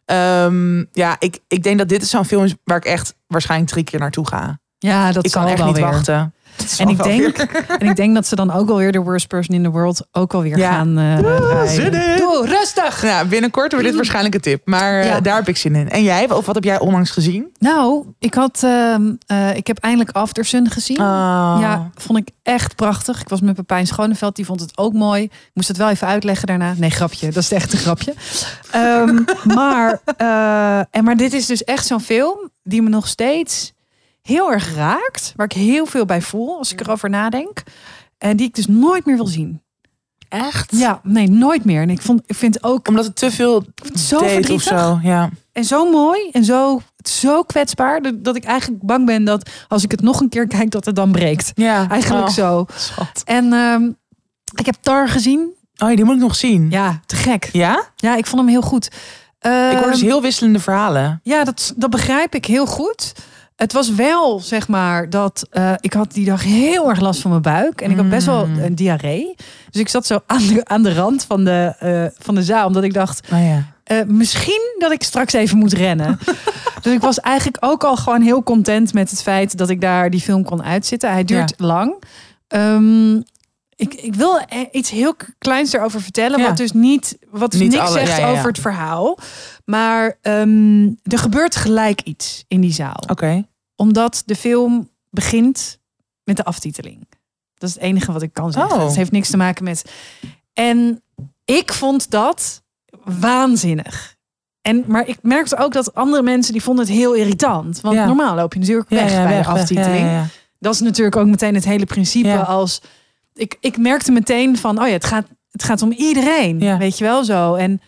[SPEAKER 1] Ehm, ja, ik, ik denk dat dit is zo'n film is waar ik echt waarschijnlijk drie keer naartoe ga.
[SPEAKER 2] Ja, dat
[SPEAKER 1] ik kan
[SPEAKER 2] zal
[SPEAKER 1] echt
[SPEAKER 2] wel
[SPEAKER 1] niet
[SPEAKER 2] weer.
[SPEAKER 1] wachten.
[SPEAKER 2] En ik, denk, en ik denk dat ze dan ook alweer de worst person in the world ook alweer
[SPEAKER 1] Ja.
[SPEAKER 2] gaan eh rijden.
[SPEAKER 1] zin in.
[SPEAKER 2] Doe, rustig.
[SPEAKER 1] Ja, binnenkort wordt dit waarschijnlijk een tip. Maar eh,
[SPEAKER 2] Mm. Ja.
[SPEAKER 1] daar heb ik zin in. En jij? Of wat heb jij onlangs gezien?
[SPEAKER 2] Nou, ik, had, ehm, eh, ik heb eindelijk Aftersun gezien.
[SPEAKER 1] Oh.
[SPEAKER 2] Ja, vond ik echt prachtig. Ik was met Pepijn Schoneveld, die vond het ook mooi. Ik moest het wel even uitleggen daarna. Nee, grapje. Dat is echt een grapje. Ehm, maar, eh, en, maar dit is dus echt zo'n film die me nog steeds heel erg raakt. Waar ik heel veel bij voel als ik erover nadenk. En die ik dus nooit meer wil zien.
[SPEAKER 1] Echt?
[SPEAKER 2] Ja, nee, nooit meer. En ik, vond, ik vind ook
[SPEAKER 1] Omdat het te veel
[SPEAKER 2] ik vind het zo
[SPEAKER 1] deed of
[SPEAKER 2] verdrietig.
[SPEAKER 1] zo. Ja.
[SPEAKER 2] en zo mooi en zo, zo kwetsbaar. dat- Dat ik eigenlijk bang ben dat als ik het nog een keer kijk, dat het dan breekt.
[SPEAKER 1] Ja,
[SPEAKER 2] Eigenlijk
[SPEAKER 1] oh,
[SPEAKER 2] zo.
[SPEAKER 1] Schat.
[SPEAKER 2] En ehm, ik heb Tar gezien.
[SPEAKER 1] Oh, die moet ik nog zien. Ja?
[SPEAKER 2] Ja, te gek. Ja, ik vond hem heel goed.
[SPEAKER 1] Ik hoor dus
[SPEAKER 2] Ehm,
[SPEAKER 1] heel wisselende verhalen.
[SPEAKER 2] Ja, dat, dat begrijp ik heel goed. Het was wel, zeg maar, dat eh, ik had die dag heel erg last van mijn buik. En ik had best wel
[SPEAKER 1] Mm.
[SPEAKER 2] een diarree. Dus ik zat zo aan de, aan de rand van de, eh, van de zaal. Omdat ik dacht,
[SPEAKER 1] Oh ja.
[SPEAKER 2] eh, misschien dat ik straks even moet rennen. dus ik was eigenlijk ook al gewoon heel content met het feit dat ik daar die film kon uitzitten. Hij duurt lang. Ehm, ik, ik wil eh, iets heel k- kleins erover vertellen,
[SPEAKER 1] Ja.
[SPEAKER 2] wat dus niet, wat
[SPEAKER 1] Niet
[SPEAKER 2] niks
[SPEAKER 1] alle-
[SPEAKER 2] zegt
[SPEAKER 1] ja, ja, ja.
[SPEAKER 2] over het verhaal. Maar ehm, er gebeurt gelijk iets in die zaal.
[SPEAKER 1] Oké.
[SPEAKER 2] Omdat de film begint met de aftiteling. Dat is het enige wat ik kan zeggen.
[SPEAKER 1] Oh.
[SPEAKER 2] Het heeft niks te maken met. En ik vond dat waanzinnig. En, maar ik merkte ook dat andere mensen die vonden het heel irritant. Want
[SPEAKER 1] Ja.
[SPEAKER 2] normaal loop je natuurlijk weg bij de aftiteling.
[SPEAKER 1] Ja, ja, ja.
[SPEAKER 2] Dat is natuurlijk ook meteen het hele principe
[SPEAKER 1] Ja.
[SPEAKER 2] als... Ik, ik merkte meteen van, oh ja, het gaat, het gaat om iedereen.
[SPEAKER 1] Ja.
[SPEAKER 2] Weet je wel zo. En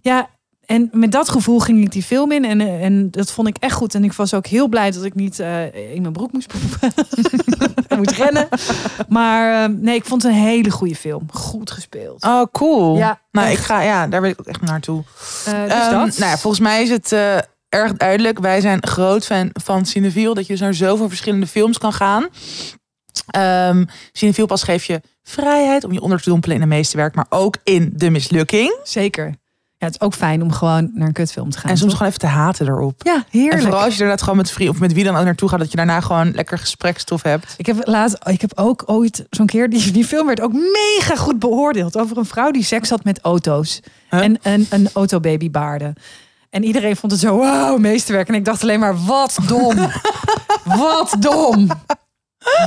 [SPEAKER 2] ja, en met dat gevoel ging ik die film in. En, eh, en dat vond ik echt goed. En ik was ook heel blij dat ik niet eh, in mijn broek moest poepen. en moest rennen. Maar eh, nee, ik vond het een hele goede film. Goed gespeeld.
[SPEAKER 1] Oh, cool.
[SPEAKER 2] Ja,
[SPEAKER 1] nou,
[SPEAKER 2] echt.
[SPEAKER 1] ik ga, ja, daar wil ik ook echt naartoe.
[SPEAKER 2] Eh, dus
[SPEAKER 1] Ehm,
[SPEAKER 2] dat.
[SPEAKER 1] Nou ja, volgens mij is het eh, erg duidelijk. Wij zijn groot fan van Cineville. Dat je dus naar zoveel verschillende films kan gaan. Ehm Cineville pas geeft je vrijheid om je onder te dompelen in het meeste werk. Maar ook in de mislukking.
[SPEAKER 2] Zeker. Ja, het is ook fijn om gewoon naar een kutfilm te gaan.
[SPEAKER 1] en soms
[SPEAKER 2] toch?
[SPEAKER 1] gewoon even te haten erop.
[SPEAKER 2] Ja, heerlijk.
[SPEAKER 1] En vooral als je inderdaad gewoon met vrienden of met wie dan ook naartoe gaat. Dat je daarna gewoon lekker gespreksstof hebt.
[SPEAKER 2] Ik heb laat, ik heb ook ooit zo'n keer die, die film werd ook mega goed beoordeeld over een vrouw die seks had met auto's
[SPEAKER 1] Huh?
[SPEAKER 2] en een, een autobaby baarde. En iedereen vond het zo wauw meesterwerk en ik dacht alleen maar wat dom, wat dom.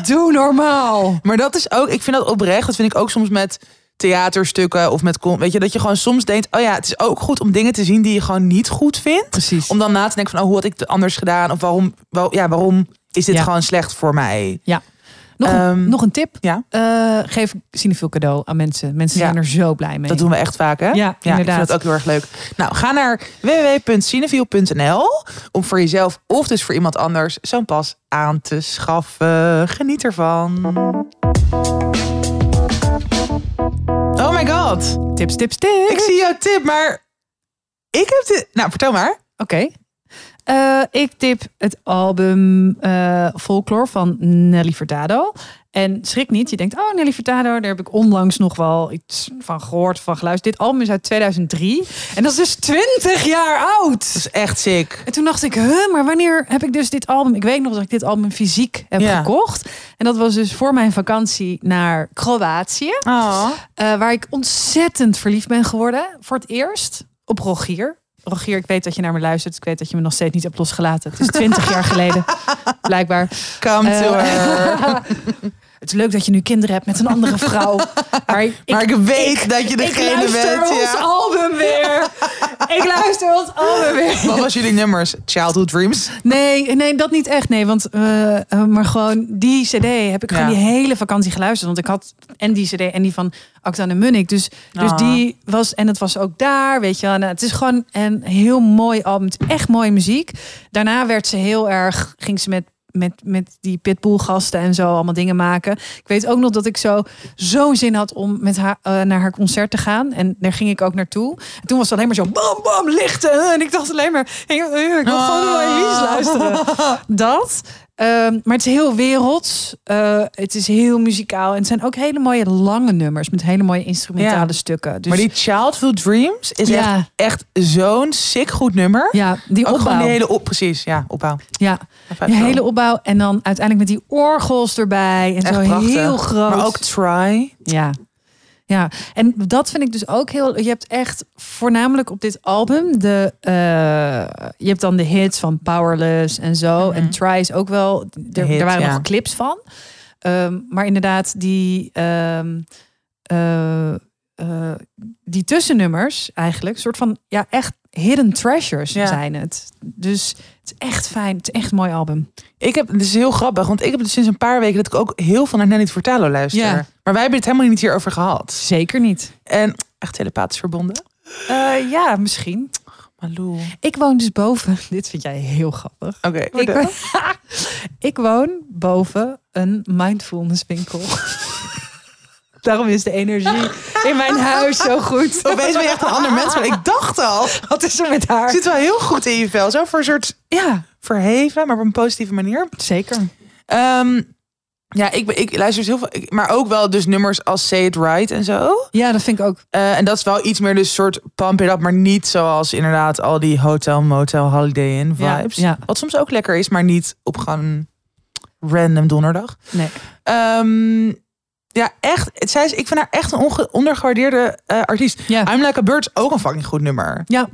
[SPEAKER 2] Doe normaal.
[SPEAKER 1] Maar dat is ook, ik vind dat oprecht. Dat vind ik ook soms met theaterstukken of met, con- weet je, dat je gewoon soms denkt, oh ja, het is ook goed om dingen te zien die je gewoon niet goed vindt.
[SPEAKER 2] Precies.
[SPEAKER 1] Om dan na te denken van, oh, hoe had ik het anders gedaan? Of waarom, wel, ja, waarom is dit
[SPEAKER 2] Ja.
[SPEAKER 1] gewoon slecht voor mij?
[SPEAKER 2] nog, een,
[SPEAKER 1] Ehm,
[SPEAKER 2] nog een tip.
[SPEAKER 1] ja.
[SPEAKER 2] Eh, geef Cinefil cadeau aan mensen. Mensen
[SPEAKER 1] Ja.
[SPEAKER 2] zijn er zo blij mee.
[SPEAKER 1] Dat doen we echt vaak, hè?
[SPEAKER 2] Ja,
[SPEAKER 1] ik vind
[SPEAKER 2] inderdaad.
[SPEAKER 1] dat ook heel erg leuk. Nou, ga naar www.cineviel.nl om voor jezelf of dus voor iemand anders zo'n pas aan te schaffen. Geniet ervan. Oh my god,
[SPEAKER 2] Tips, tips, tips.
[SPEAKER 1] ik zie jouw tip, maar ik heb dit... Nou, vertel maar.
[SPEAKER 2] Oké. Eh, ik tip het album eh, Folklore van Nelly Furtado. En schrik niet, je denkt, oh Nelly Furtado, daar heb ik onlangs nog wel iets van gehoord, van geluisterd. Dit album is uit 2003 en dat is dus 20 jaar oud.
[SPEAKER 1] Dat is echt sick.
[SPEAKER 2] En toen dacht ik, huh, maar wanneer heb ik dus dit album? Ik weet nog dat ik dit album fysiek heb
[SPEAKER 1] Ja.
[SPEAKER 2] gekocht. En dat was dus voor mijn vakantie naar Kroatië.
[SPEAKER 1] Oh.
[SPEAKER 2] Eh, waar ik ontzettend verliefd ben geworden. Voor het eerst op Rogier. Rogier, ik weet dat je naar me luistert. dus Ik weet dat je me nog steeds niet hebt losgelaten. Het is twintig jaar geleden, blijkbaar.
[SPEAKER 1] Come to
[SPEAKER 2] Eh,
[SPEAKER 1] her.
[SPEAKER 2] het is leuk dat je nu kinderen hebt met een andere vrouw. Maar ik,
[SPEAKER 1] Maar ik, weet dat je
[SPEAKER 2] ik
[SPEAKER 1] degene
[SPEAKER 2] luister
[SPEAKER 1] bent.
[SPEAKER 2] ons
[SPEAKER 1] Ja.
[SPEAKER 2] album weer. ik luister ons album weer.
[SPEAKER 1] Wat was jullie nummers? Childhood Dreams.
[SPEAKER 2] Nee, nee, dat niet echt. Nee, want eh, eh, maar gewoon die CD heb ik
[SPEAKER 1] Ja.
[SPEAKER 2] gewoon die hele vakantie geluisterd. Want ik had en die CD en die van Acta en Munnik. Dus, dus
[SPEAKER 1] Ah.
[SPEAKER 2] die was en het was ook daar, weet je wel. Nou, het is gewoon een heel mooi album. Het is echt mooie muziek. Daarna werd ze heel erg, ging ze met met, met die pitbull gasten en zo allemaal dingen maken. Ik weet ook nog dat ik zo zo'n zin had om met haar eh, naar haar concert te gaan en daar ging ik ook naartoe. En toen was het alleen maar zo bam bam lichten en ik dacht alleen maar ik, ik wil
[SPEAKER 1] Ah.
[SPEAKER 2] gewoon naar Elise luisteren. Dat. Ehm, maar het is heel werelds. Eh, het is heel muzikaal. En het zijn ook hele mooie lange nummers met hele mooie instrumentale
[SPEAKER 1] Ja.
[SPEAKER 2] stukken. Dus,
[SPEAKER 1] Maar die Childhood Dreams is echt,
[SPEAKER 2] ja,
[SPEAKER 1] echt zo'n sick goed nummer.
[SPEAKER 2] ja, die
[SPEAKER 1] Ook gewoon
[SPEAKER 2] opbouw.
[SPEAKER 1] die hele op, precies. Ja, opbouw.
[SPEAKER 2] Ja,
[SPEAKER 1] Even
[SPEAKER 2] die
[SPEAKER 1] zo.
[SPEAKER 2] hele opbouw. En dan uiteindelijk met die orgels erbij. En
[SPEAKER 1] Echt
[SPEAKER 2] zo
[SPEAKER 1] prachtig.
[SPEAKER 2] heel groot.
[SPEAKER 1] Maar ook Try.
[SPEAKER 2] Ja. Ja, en dat vind ik dus ook heel. Je hebt echt voornamelijk op dit album de. eh, je hebt dan de hits van Powerless en zo.
[SPEAKER 1] Mhm.
[SPEAKER 2] En Try is ook wel. Er,
[SPEAKER 1] hit,
[SPEAKER 2] er waren
[SPEAKER 1] ja.
[SPEAKER 2] nog clips van. Ehm, maar inderdaad, die. ehm, eh, eh, die tussennummers eigenlijk. Soort van. Ja, echt hidden treasures
[SPEAKER 1] Ja.
[SPEAKER 2] zijn het. Dus het is echt fijn. Het is echt een mooi album.
[SPEAKER 1] Ik heb, dit is heel grappig, want ik heb dus sinds een paar weken dat ik ook heel veel naar Nelly Fortalo luister.
[SPEAKER 2] Ja.
[SPEAKER 1] Maar wij hebben het helemaal niet hierover gehad.
[SPEAKER 2] Zeker niet.
[SPEAKER 1] En echt telepathisch verbonden.
[SPEAKER 2] Eh, ja, misschien.
[SPEAKER 1] Malou.
[SPEAKER 2] Ik woon dus boven. Dit vind jij heel grappig.
[SPEAKER 1] Oké,
[SPEAKER 2] Ik,
[SPEAKER 1] vertel.
[SPEAKER 2] ik woon boven een mindfulness winkel. Daarom is de energie in mijn huis zo goed.
[SPEAKER 1] Opeens ben je echt een ander mens, maar ik dacht al.
[SPEAKER 2] Wat is er met
[SPEAKER 1] Je
[SPEAKER 2] haar?
[SPEAKER 1] zit wel heel goed in je vel. Zo voor een soort
[SPEAKER 2] Ja,
[SPEAKER 1] verheven, maar op een positieve manier.
[SPEAKER 2] zeker.
[SPEAKER 1] Ehm, ja, ik, ben- ik luister dus heel veel. ik- maar ook wel dus nummers als Say It Right en zo.
[SPEAKER 2] Ja, dat vind ik ook.
[SPEAKER 1] Eh, en dat is wel iets meer dus soort pump it up. Maar niet zoals inderdaad al die hotel, motel, holiday in
[SPEAKER 2] Ja,
[SPEAKER 1] vibes.
[SPEAKER 2] ja.
[SPEAKER 1] Wat soms ook lekker is, maar niet op gewoon random donderdag.
[SPEAKER 2] Nee.
[SPEAKER 1] Ehm, ja, echt. Het, zij is, ik vind haar echt een onge- ondergewaardeerde eh, artiest.
[SPEAKER 2] Ja.
[SPEAKER 1] I'm Like a Bird is ook een fucking goed nummer.
[SPEAKER 2] Ja.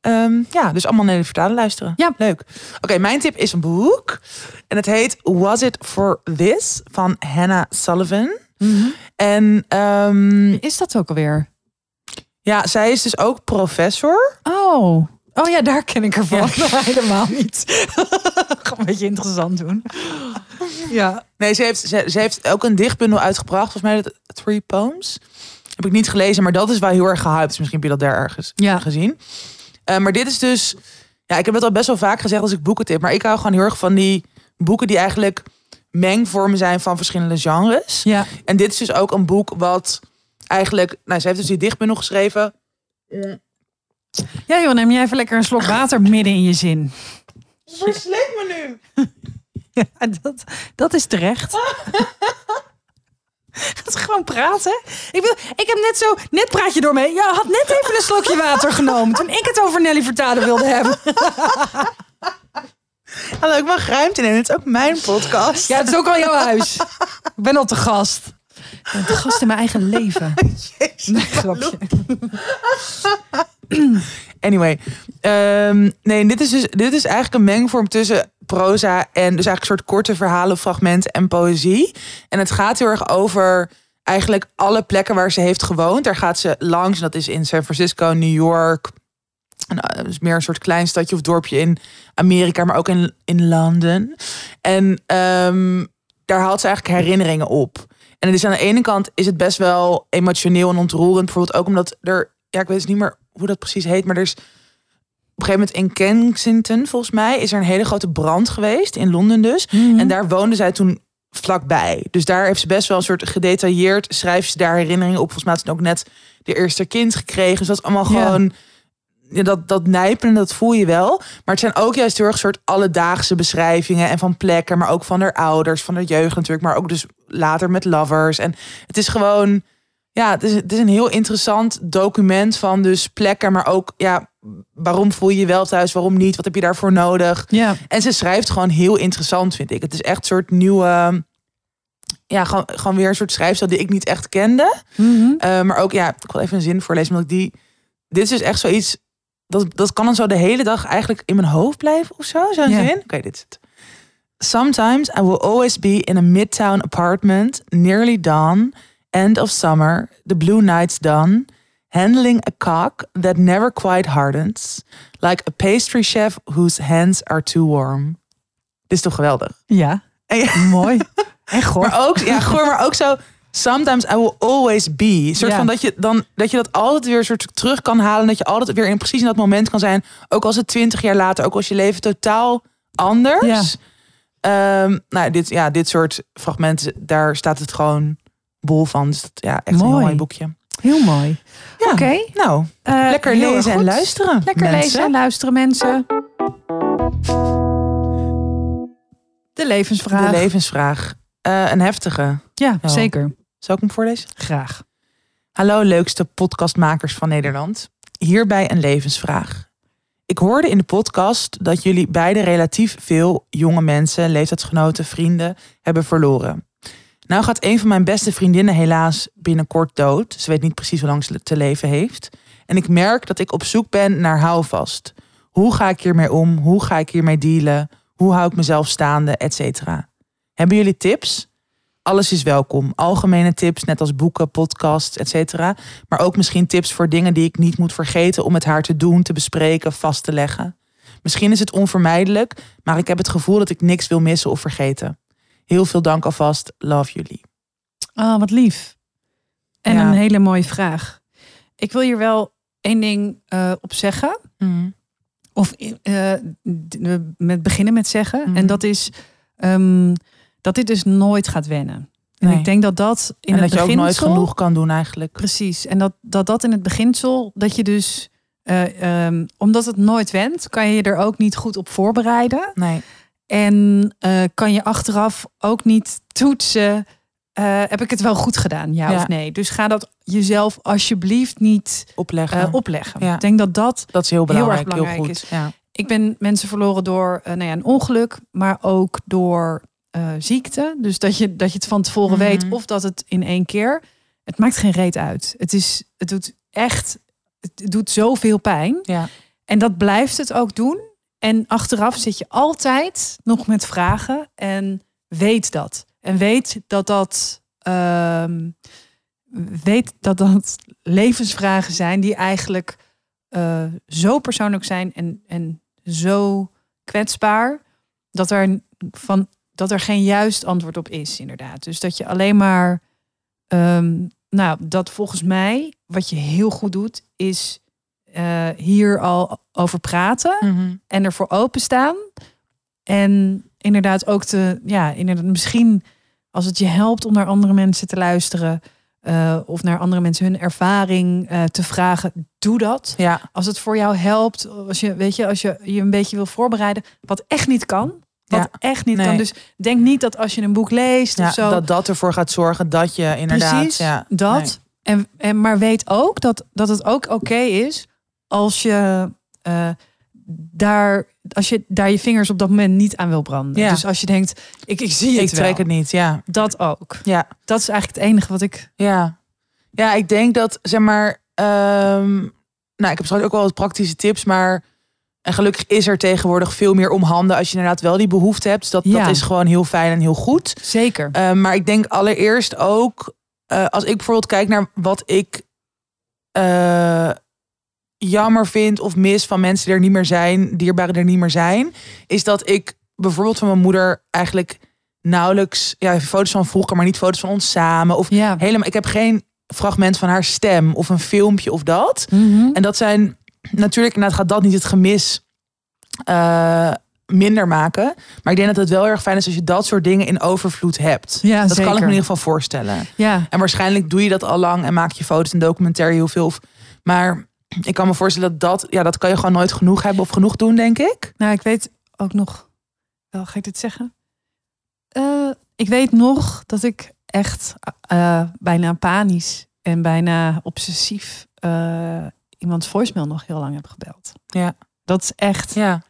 [SPEAKER 1] Ehm, ja, dus allemaal naar de vertalen luisteren.
[SPEAKER 2] Ja.
[SPEAKER 1] Leuk. Oké, mijn tip is een boek. En het heet Was It For This? Van Hannah Sullivan. En ehm,
[SPEAKER 2] Is dat ook alweer?
[SPEAKER 1] ja, zij is dus ook professor.
[SPEAKER 2] Oh. Oh ja, daar ken ik ervan. Helemaal niet. Ga een beetje interessant doen. Ja.
[SPEAKER 1] Nee, ze heeft, ze, ze heeft ook een dichtbundel uitgebracht. Volgens mij dat Three Poems. Heb ik niet gelezen, maar dat is wel heel erg gehyped. Dus Misschien heb je dat daar ergens
[SPEAKER 2] Ja.
[SPEAKER 1] gezien. Eh, maar dit is dus... Ja, ik heb het al best wel vaak gezegd als ik boeken tip. Maar ik hou gewoon heel erg van die boeken die eigenlijk mengvormen zijn van verschillende genres.
[SPEAKER 2] Ja.
[SPEAKER 1] En dit is dus ook een boek wat eigenlijk... Nou, ze heeft dus die dichtbundel geschreven.
[SPEAKER 2] Ja, joh, neem jij even lekker een slok water midden in je zin.
[SPEAKER 1] Verslik me nu!
[SPEAKER 2] Ja, dat, dat is terecht. Gaat ze gewoon praten. Ik, wil, ik heb net zo, net praat je door me. Ja, had net even een slokje water genomen toen ik het over Nelly Vertalen wilde hebben.
[SPEAKER 1] Hallo, ik mag ruimte nemen. Het is ook mijn podcast.
[SPEAKER 2] Ja, het is ook al jouw huis. Ik ben al te gast. Ik ben te gast in mijn eigen leven. Nee, grapje.
[SPEAKER 1] Anyway. ehm, nee, dit is, dus, dit is eigenlijk een mengvorm tussen proza en dus eigenlijk een soort korte verhalen, fragmenten en poëzie. En het gaat heel erg over eigenlijk alle plekken waar ze heeft gewoond. Daar gaat ze langs. En dat is in San Francisco, New York. En, eh, dus meer een soort klein stadje of dorpje in Amerika, maar ook in, in Londen. En ehm, daar haalt ze eigenlijk herinneringen op. En het is aan de ene kant is het best wel emotioneel en ontroerend. Bijvoorbeeld ook omdat er, ja, ik weet dus niet meer hoe dat precies heet, maar er is op een gegeven moment in Kensington, volgens mij, is er een hele grote brand geweest in Londen dus. En daar woonde zij toen vlakbij. Dus daar heeft ze best wel een soort gedetailleerd, schrijft ze daar herinneringen op. Volgens mij had ze ook net de eerste kind gekregen. Dus dat is allemaal
[SPEAKER 2] Ja.
[SPEAKER 1] gewoon, ja, dat, dat nijpen, dat voel je wel. Maar het zijn ook juist heel erg soort alledaagse beschrijvingen. En van plekken, maar ook van haar ouders, van haar jeugd natuurlijk. Maar ook dus later met lovers. En het is gewoon, ja, het is, het is een heel interessant document van dus plekken. Maar ook, ja, waarom voel je je wel thuis, waarom niet? Wat heb je daarvoor nodig?
[SPEAKER 2] Ja.
[SPEAKER 1] En ze schrijft gewoon heel interessant, vind ik. Het is echt een soort nieuwe... Ja, gewoon, gewoon weer een soort schrijfstijl die ik niet echt kende.
[SPEAKER 2] Mhm.
[SPEAKER 1] Eh, maar ook, ja, ik wil even een zin voorlezen. Omdat ik die. Dit is dus echt zoiets. Dat, dat kan dan zo de hele dag eigenlijk in mijn hoofd blijven of zo. Zo'n
[SPEAKER 2] Ja.
[SPEAKER 1] zin. Oké, dit is het. Sometimes I will always be in a midtown apartment, nearly dawn, end of summer, the blue night's done, handling a cock that never quite hardens, like a pastry chef whose hands are too warm. Dit is toch geweldig?
[SPEAKER 2] Ja.
[SPEAKER 1] En ja,
[SPEAKER 2] Mooi. En goh.
[SPEAKER 1] maar ook, ja, gewoon, maar ook zo. Sometimes I will always be. Een soort
[SPEAKER 2] Ja.
[SPEAKER 1] van dat je, dan, dat je dat altijd weer soort terug kan halen. Dat je altijd weer in precies in dat moment kan zijn. Ook als het twintig jaar later, ook als je leven totaal anders.
[SPEAKER 2] Ja.
[SPEAKER 1] Ehm, nou, dit, ja, dit soort fragmenten, daar staat het gewoon bol van. Dus dat, ja, echt een heel
[SPEAKER 2] Mooi.
[SPEAKER 1] mooi boekje.
[SPEAKER 2] Heel mooi.
[SPEAKER 1] Ja,
[SPEAKER 2] Oké.
[SPEAKER 1] Nou,
[SPEAKER 2] Eh,
[SPEAKER 1] lekker
[SPEAKER 2] Oh. heel erg
[SPEAKER 1] lezen en
[SPEAKER 2] goed.
[SPEAKER 1] luisteren.
[SPEAKER 2] Lekker
[SPEAKER 1] mensen.
[SPEAKER 2] lezen en luisteren, mensen. De levensvraag.
[SPEAKER 1] De levensvraag. Eh, een heftige.
[SPEAKER 2] ja,
[SPEAKER 1] Oh.
[SPEAKER 2] zeker.
[SPEAKER 1] Zal ik hem voorlezen?
[SPEAKER 2] Graag.
[SPEAKER 1] Hallo leukste podcastmakers van Nederland. Hierbij een levensvraag. Ik hoorde in de podcast dat jullie beide relatief veel jonge mensen, leeftijdsgenoten, vrienden hebben verloren. Nou gaat een van mijn beste vriendinnen helaas binnenkort dood. Ze weet niet precies hoe lang ze te leven heeft. En ik merk dat ik op zoek ben naar houvast. Hoe ga ik hiermee om? Hoe ga ik hiermee dealen? Hoe hou ik mezelf staande? Etcetera. Hebben jullie tips? alles is welkom. Algemene tips, net als boeken, podcasts, et cetera. Maar ook misschien tips voor dingen die ik niet moet vergeten om met haar te doen, te bespreken, vast te leggen. Misschien is het onvermijdelijk, maar ik heb het gevoel dat ik niks wil missen of vergeten. Heel veel dank alvast. Love jullie.
[SPEAKER 2] Ah, wat lief. En
[SPEAKER 1] Ja.
[SPEAKER 2] een hele mooie vraag. Ik wil hier wel één ding eh, op zeggen. Of eh, d- met beginnen met zeggen.
[SPEAKER 1] Mhm.
[SPEAKER 2] En dat is ehm, dat dit dus nooit gaat wennen. En
[SPEAKER 1] Nee.
[SPEAKER 2] ik denk dat dat in
[SPEAKER 1] en
[SPEAKER 2] het
[SPEAKER 1] dat je ook nooit
[SPEAKER 2] beginsel-
[SPEAKER 1] genoeg kan doen eigenlijk.
[SPEAKER 2] Precies. En dat, dat dat in het beginsel, dat je dus, eh, ehm, omdat het nooit went, kan je je er ook niet goed op voorbereiden.
[SPEAKER 1] Nee.
[SPEAKER 2] En eh, kan je achteraf ook niet toetsen, eh, heb ik het wel goed gedaan, ja,
[SPEAKER 1] Ja.
[SPEAKER 2] of nee. Dus ga dat jezelf alsjeblieft niet
[SPEAKER 1] Opleggen.
[SPEAKER 2] eh, opleggen.
[SPEAKER 1] Ja.
[SPEAKER 2] Ik denk dat dat
[SPEAKER 1] dat is heel belangrijk. Heel,
[SPEAKER 2] belangrijk
[SPEAKER 1] goed.
[SPEAKER 2] is.
[SPEAKER 1] Ja.
[SPEAKER 2] ik ben mensen verloren door eh, nou ja, een ongeluk, maar ook door eh, ziekte. Dus dat je, dat je het van tevoren
[SPEAKER 1] Mhm.
[SPEAKER 2] weet of dat het in één keer. Het maakt geen reet uit. Het, is, het doet echt, het doet zoveel pijn.
[SPEAKER 1] Ja.
[SPEAKER 2] En dat blijft het ook doen. En achteraf zit je altijd nog met vragen en weet dat. En weet dat dat, ehm, weet dat, dat levensvragen zijn die eigenlijk eh, zo persoonlijk zijn en, en zo kwetsbaar dat er, van, dat er geen juist antwoord op is, inderdaad. Dus dat je alleen maar, ehm, nou, dat volgens mij, wat je heel goed doet, is eh, hier al over praten
[SPEAKER 1] Mhm.
[SPEAKER 2] en ervoor openstaan. En inderdaad ook te, ja, inderdaad, misschien als het je helpt om naar andere mensen te luisteren. eh, of naar andere mensen hun ervaring eh, te vragen. Doe dat
[SPEAKER 1] ja.
[SPEAKER 2] als het voor jou helpt, als je, weet je, als je je een beetje wil voorbereiden, wat echt niet kan. Wat
[SPEAKER 1] Ja.
[SPEAKER 2] echt niet
[SPEAKER 1] Nee.
[SPEAKER 2] kan. Dus denk niet dat als je een boek leest
[SPEAKER 1] Ja,
[SPEAKER 2] of zo.
[SPEAKER 1] dat dat ervoor gaat zorgen dat je inderdaad...
[SPEAKER 2] precies
[SPEAKER 1] ja,
[SPEAKER 2] dat.
[SPEAKER 1] nee.
[SPEAKER 2] En, en, maar weet ook dat, dat het ook oké is als je, eh, daar, als je daar je vingers op dat moment niet aan wil branden.
[SPEAKER 1] Ja.
[SPEAKER 2] Dus als je denkt, ik, ik zie het
[SPEAKER 1] Ik trek
[SPEAKER 2] wel.
[SPEAKER 1] het niet, ja.
[SPEAKER 2] Dat ook.
[SPEAKER 1] Ja.
[SPEAKER 2] Dat is eigenlijk het enige wat ik...
[SPEAKER 1] Ja. ja, ik denk dat, zeg maar, ehm, nou, ik heb straks ook wel wat praktische tips, maar en gelukkig is er tegenwoordig veel meer om handen als je inderdaad wel die behoefte hebt. Dus dat,
[SPEAKER 2] Ja.
[SPEAKER 1] dat is gewoon heel fijn en heel goed.
[SPEAKER 2] Zeker.
[SPEAKER 1] Eh, maar ik denk allereerst ook, eh, als ik bijvoorbeeld kijk naar wat ik eh, jammer vind of mis van mensen die er niet meer zijn, dierbaren die er niet meer zijn, is dat ik bijvoorbeeld van mijn moeder eigenlijk nauwelijks, ja, foto's van vroeger, maar niet foto's van ons samen of
[SPEAKER 2] Ja.
[SPEAKER 1] helemaal. Ik heb geen fragment van haar stem of een filmpje of dat.
[SPEAKER 2] Mhm.
[SPEAKER 1] En dat zijn natuurlijk, inderdaad, gaat dat niet het gemis eh, minder maken. Maar ik denk dat het wel erg fijn is als je dat soort dingen in overvloed hebt.
[SPEAKER 2] Ja,
[SPEAKER 1] dat kan ik me
[SPEAKER 2] zeker.
[SPEAKER 1] in ieder geval voorstellen.
[SPEAKER 2] ja.
[SPEAKER 1] En waarschijnlijk doe je dat al lang en maak je foto's en documentaire heel veel. Of- Maar ik kan me voorstellen dat dat, ja, dat kan je gewoon nooit genoeg hebben of genoeg doen, denk ik.
[SPEAKER 2] Nou, ik weet ook nog. Wel, ga ik dit zeggen? Eh, ik weet nog dat ik echt eh, bijna panisch en bijna obsessief eh, iemands voicemail nog heel lang heb gebeld.
[SPEAKER 1] Ja.
[SPEAKER 2] Dat is echt
[SPEAKER 1] Ja,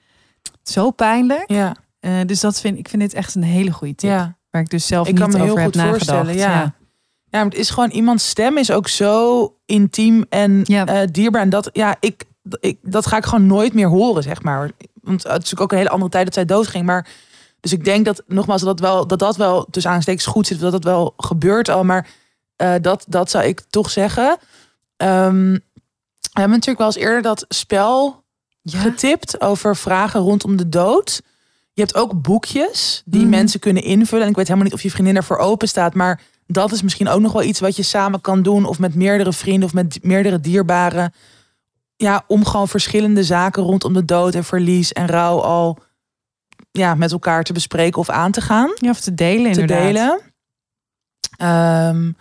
[SPEAKER 2] zo pijnlijk.
[SPEAKER 1] ja,
[SPEAKER 2] Eh, dus dat vind ik vind dit echt een hele goede tip.
[SPEAKER 1] ja.
[SPEAKER 2] Waar ik dus zelf
[SPEAKER 1] Ik
[SPEAKER 2] niet
[SPEAKER 1] kan me
[SPEAKER 2] over
[SPEAKER 1] heel
[SPEAKER 2] heb
[SPEAKER 1] goed
[SPEAKER 2] nagedacht.
[SPEAKER 1] voorstellen, ja. Ja, maar het is gewoon iemands stem is ook zo intiem en
[SPEAKER 2] Ja.
[SPEAKER 1] eh, dierbaar. En dat, ja, ik, ik, dat ga ik gewoon nooit meer horen, zeg maar. Want het is natuurlijk ook een hele andere tijd dat zij doodging. Maar dus ik denk dat, nogmaals, dat wel, dat, dat wel tussen aanstekens goed zit. Dat dat wel gebeurt al. Maar eh, dat, dat zou ik toch zeggen. Ehm, we hebben natuurlijk wel eens eerder dat spel
[SPEAKER 2] Ja.
[SPEAKER 1] getipt over vragen rondom de dood. Je hebt ook boekjes die
[SPEAKER 2] Mhm.
[SPEAKER 1] mensen kunnen invullen. En ik weet helemaal niet of je vriendin ervoor open staat. Maar dat is misschien ook nog wel iets wat je samen kan doen. Of met meerdere vrienden of met meerdere dierbaren. Ja, om gewoon verschillende zaken rondom de dood en verlies en rouw al ja, met elkaar te bespreken of aan te gaan
[SPEAKER 2] Ja, of te delen inderdaad.
[SPEAKER 1] te delen. Ehm,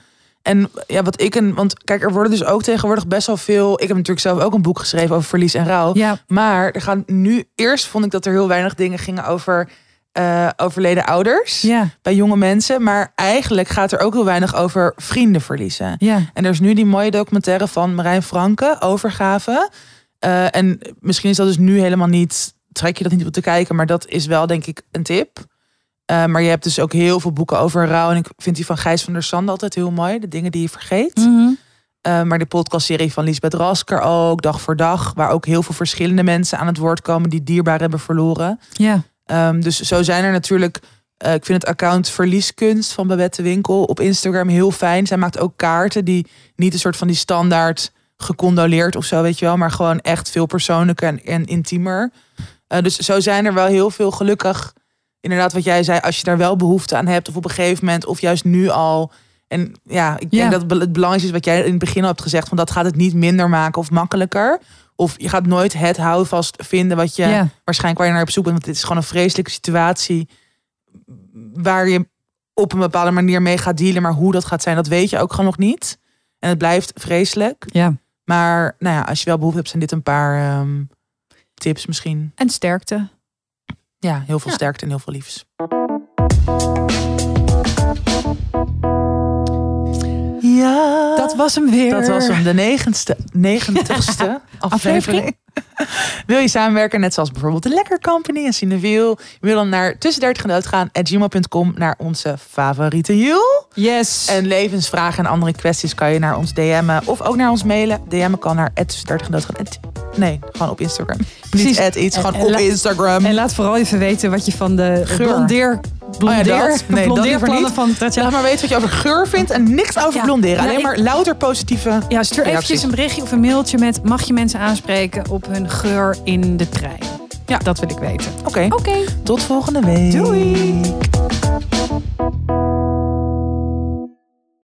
[SPEAKER 1] en ja, wat ik een. Want kijk, er worden dus ook tegenwoordig best wel veel. Ik heb natuurlijk zelf ook een boek geschreven over verlies en rouw.
[SPEAKER 2] Ja,
[SPEAKER 1] Maar er gaan nu. Eerst vond ik dat er heel weinig dingen gingen over eh, overleden ouders.
[SPEAKER 2] ja,
[SPEAKER 1] Bij jonge mensen. Maar eigenlijk gaat er ook heel weinig over vrienden verliezen.
[SPEAKER 2] ja.
[SPEAKER 1] En er is nu die mooie documentaire van Marijn Franke, Overgave. Eh, en misschien is dat dus nu helemaal niet, trek je dat niet op te kijken, maar dat is wel denk ik een tip. Eh, maar je hebt dus ook heel veel boeken over rouw. En ik vind die van Gijs van der Sande altijd heel mooi. De dingen die je vergeet.
[SPEAKER 2] Mhm.
[SPEAKER 1] Eh, maar de podcastserie van Lisbeth Rasker ook, Dag voor Dag. Waar ook heel veel verschillende mensen aan het woord komen die dierbaar hebben verloren.
[SPEAKER 2] Ja,
[SPEAKER 1] Ehm, dus zo zijn er natuurlijk. eh, ik vind het account Verlieskunst van Babette de Winkel op Instagram heel fijn. Zij maakt ook kaarten die niet een soort van die standaard gecondoleerd of zo, weet je wel. Maar gewoon echt veel persoonlijker en, en intiemer. Eh, dus zo zijn er wel heel veel gelukkig. Inderdaad, wat jij zei, als je daar wel behoefte aan hebt, of op een gegeven moment, of juist nu al. En ja, ik denk
[SPEAKER 2] Ja.
[SPEAKER 1] dat het be- het belangrijkste is wat jij in het begin al hebt gezegd, want dat gaat het niet minder maken of makkelijker. Of je gaat nooit het houvast vinden wat je
[SPEAKER 2] Ja.
[SPEAKER 1] waarschijnlijk waar je naar op zoek bent. Want dit is gewoon een vreselijke situatie waar je op een bepaalde manier mee gaat dealen. Maar hoe dat gaat zijn, dat weet je ook gewoon nog niet. En het blijft vreselijk.
[SPEAKER 2] ja.
[SPEAKER 1] Maar nou ja, als je wel behoefte hebt, zijn dit een paar ehm, tips misschien.
[SPEAKER 2] En sterkte.
[SPEAKER 1] Ja, heel veel
[SPEAKER 2] Ja.
[SPEAKER 1] sterkte en heel veel liefs. Ja,
[SPEAKER 2] Dat was hem weer.
[SPEAKER 1] Ah. dat was hem. De negentigste, negentigste aflevering. Wil je samenwerken, net zoals bijvoorbeeld de Lekker Company en Cineville? Wil dan naar tussen 30 en doodgaan at gmail.com naar onze favoriete Jul.
[SPEAKER 2] Yes.
[SPEAKER 1] En levensvragen en andere kwesties kan je naar ons DM'en of ook naar ons mailen. DM'en kan naar 30 en doodgaan. Nee, gewoon op Instagram.
[SPEAKER 2] Precies.
[SPEAKER 1] Niet at iets,
[SPEAKER 2] En-
[SPEAKER 1] gewoon
[SPEAKER 2] en
[SPEAKER 1] op
[SPEAKER 2] la-
[SPEAKER 1] Instagram.
[SPEAKER 2] En laat vooral even weten wat je van de
[SPEAKER 1] Geur.
[SPEAKER 2] blondeer, blondeer,
[SPEAKER 1] Oh ja, dat. Nee, dat liever
[SPEAKER 2] blondeerplannen
[SPEAKER 1] niet.
[SPEAKER 2] van Tatjana.
[SPEAKER 1] Laat maar weten wat je over geur vindt en niks over
[SPEAKER 2] Ja.
[SPEAKER 1] blonderen.
[SPEAKER 2] Ja,
[SPEAKER 1] Alleen
[SPEAKER 2] ik-
[SPEAKER 1] maar louter positieve
[SPEAKER 2] Ja, stuur
[SPEAKER 1] Reacties.
[SPEAKER 2] eventjes een berichtje of een mailtje met... mag je mensen aanspreken op hun geur in de trein? Ja, dat wil ik weten.
[SPEAKER 1] Oké,
[SPEAKER 2] Oké.
[SPEAKER 1] tot volgende week.
[SPEAKER 2] Doei.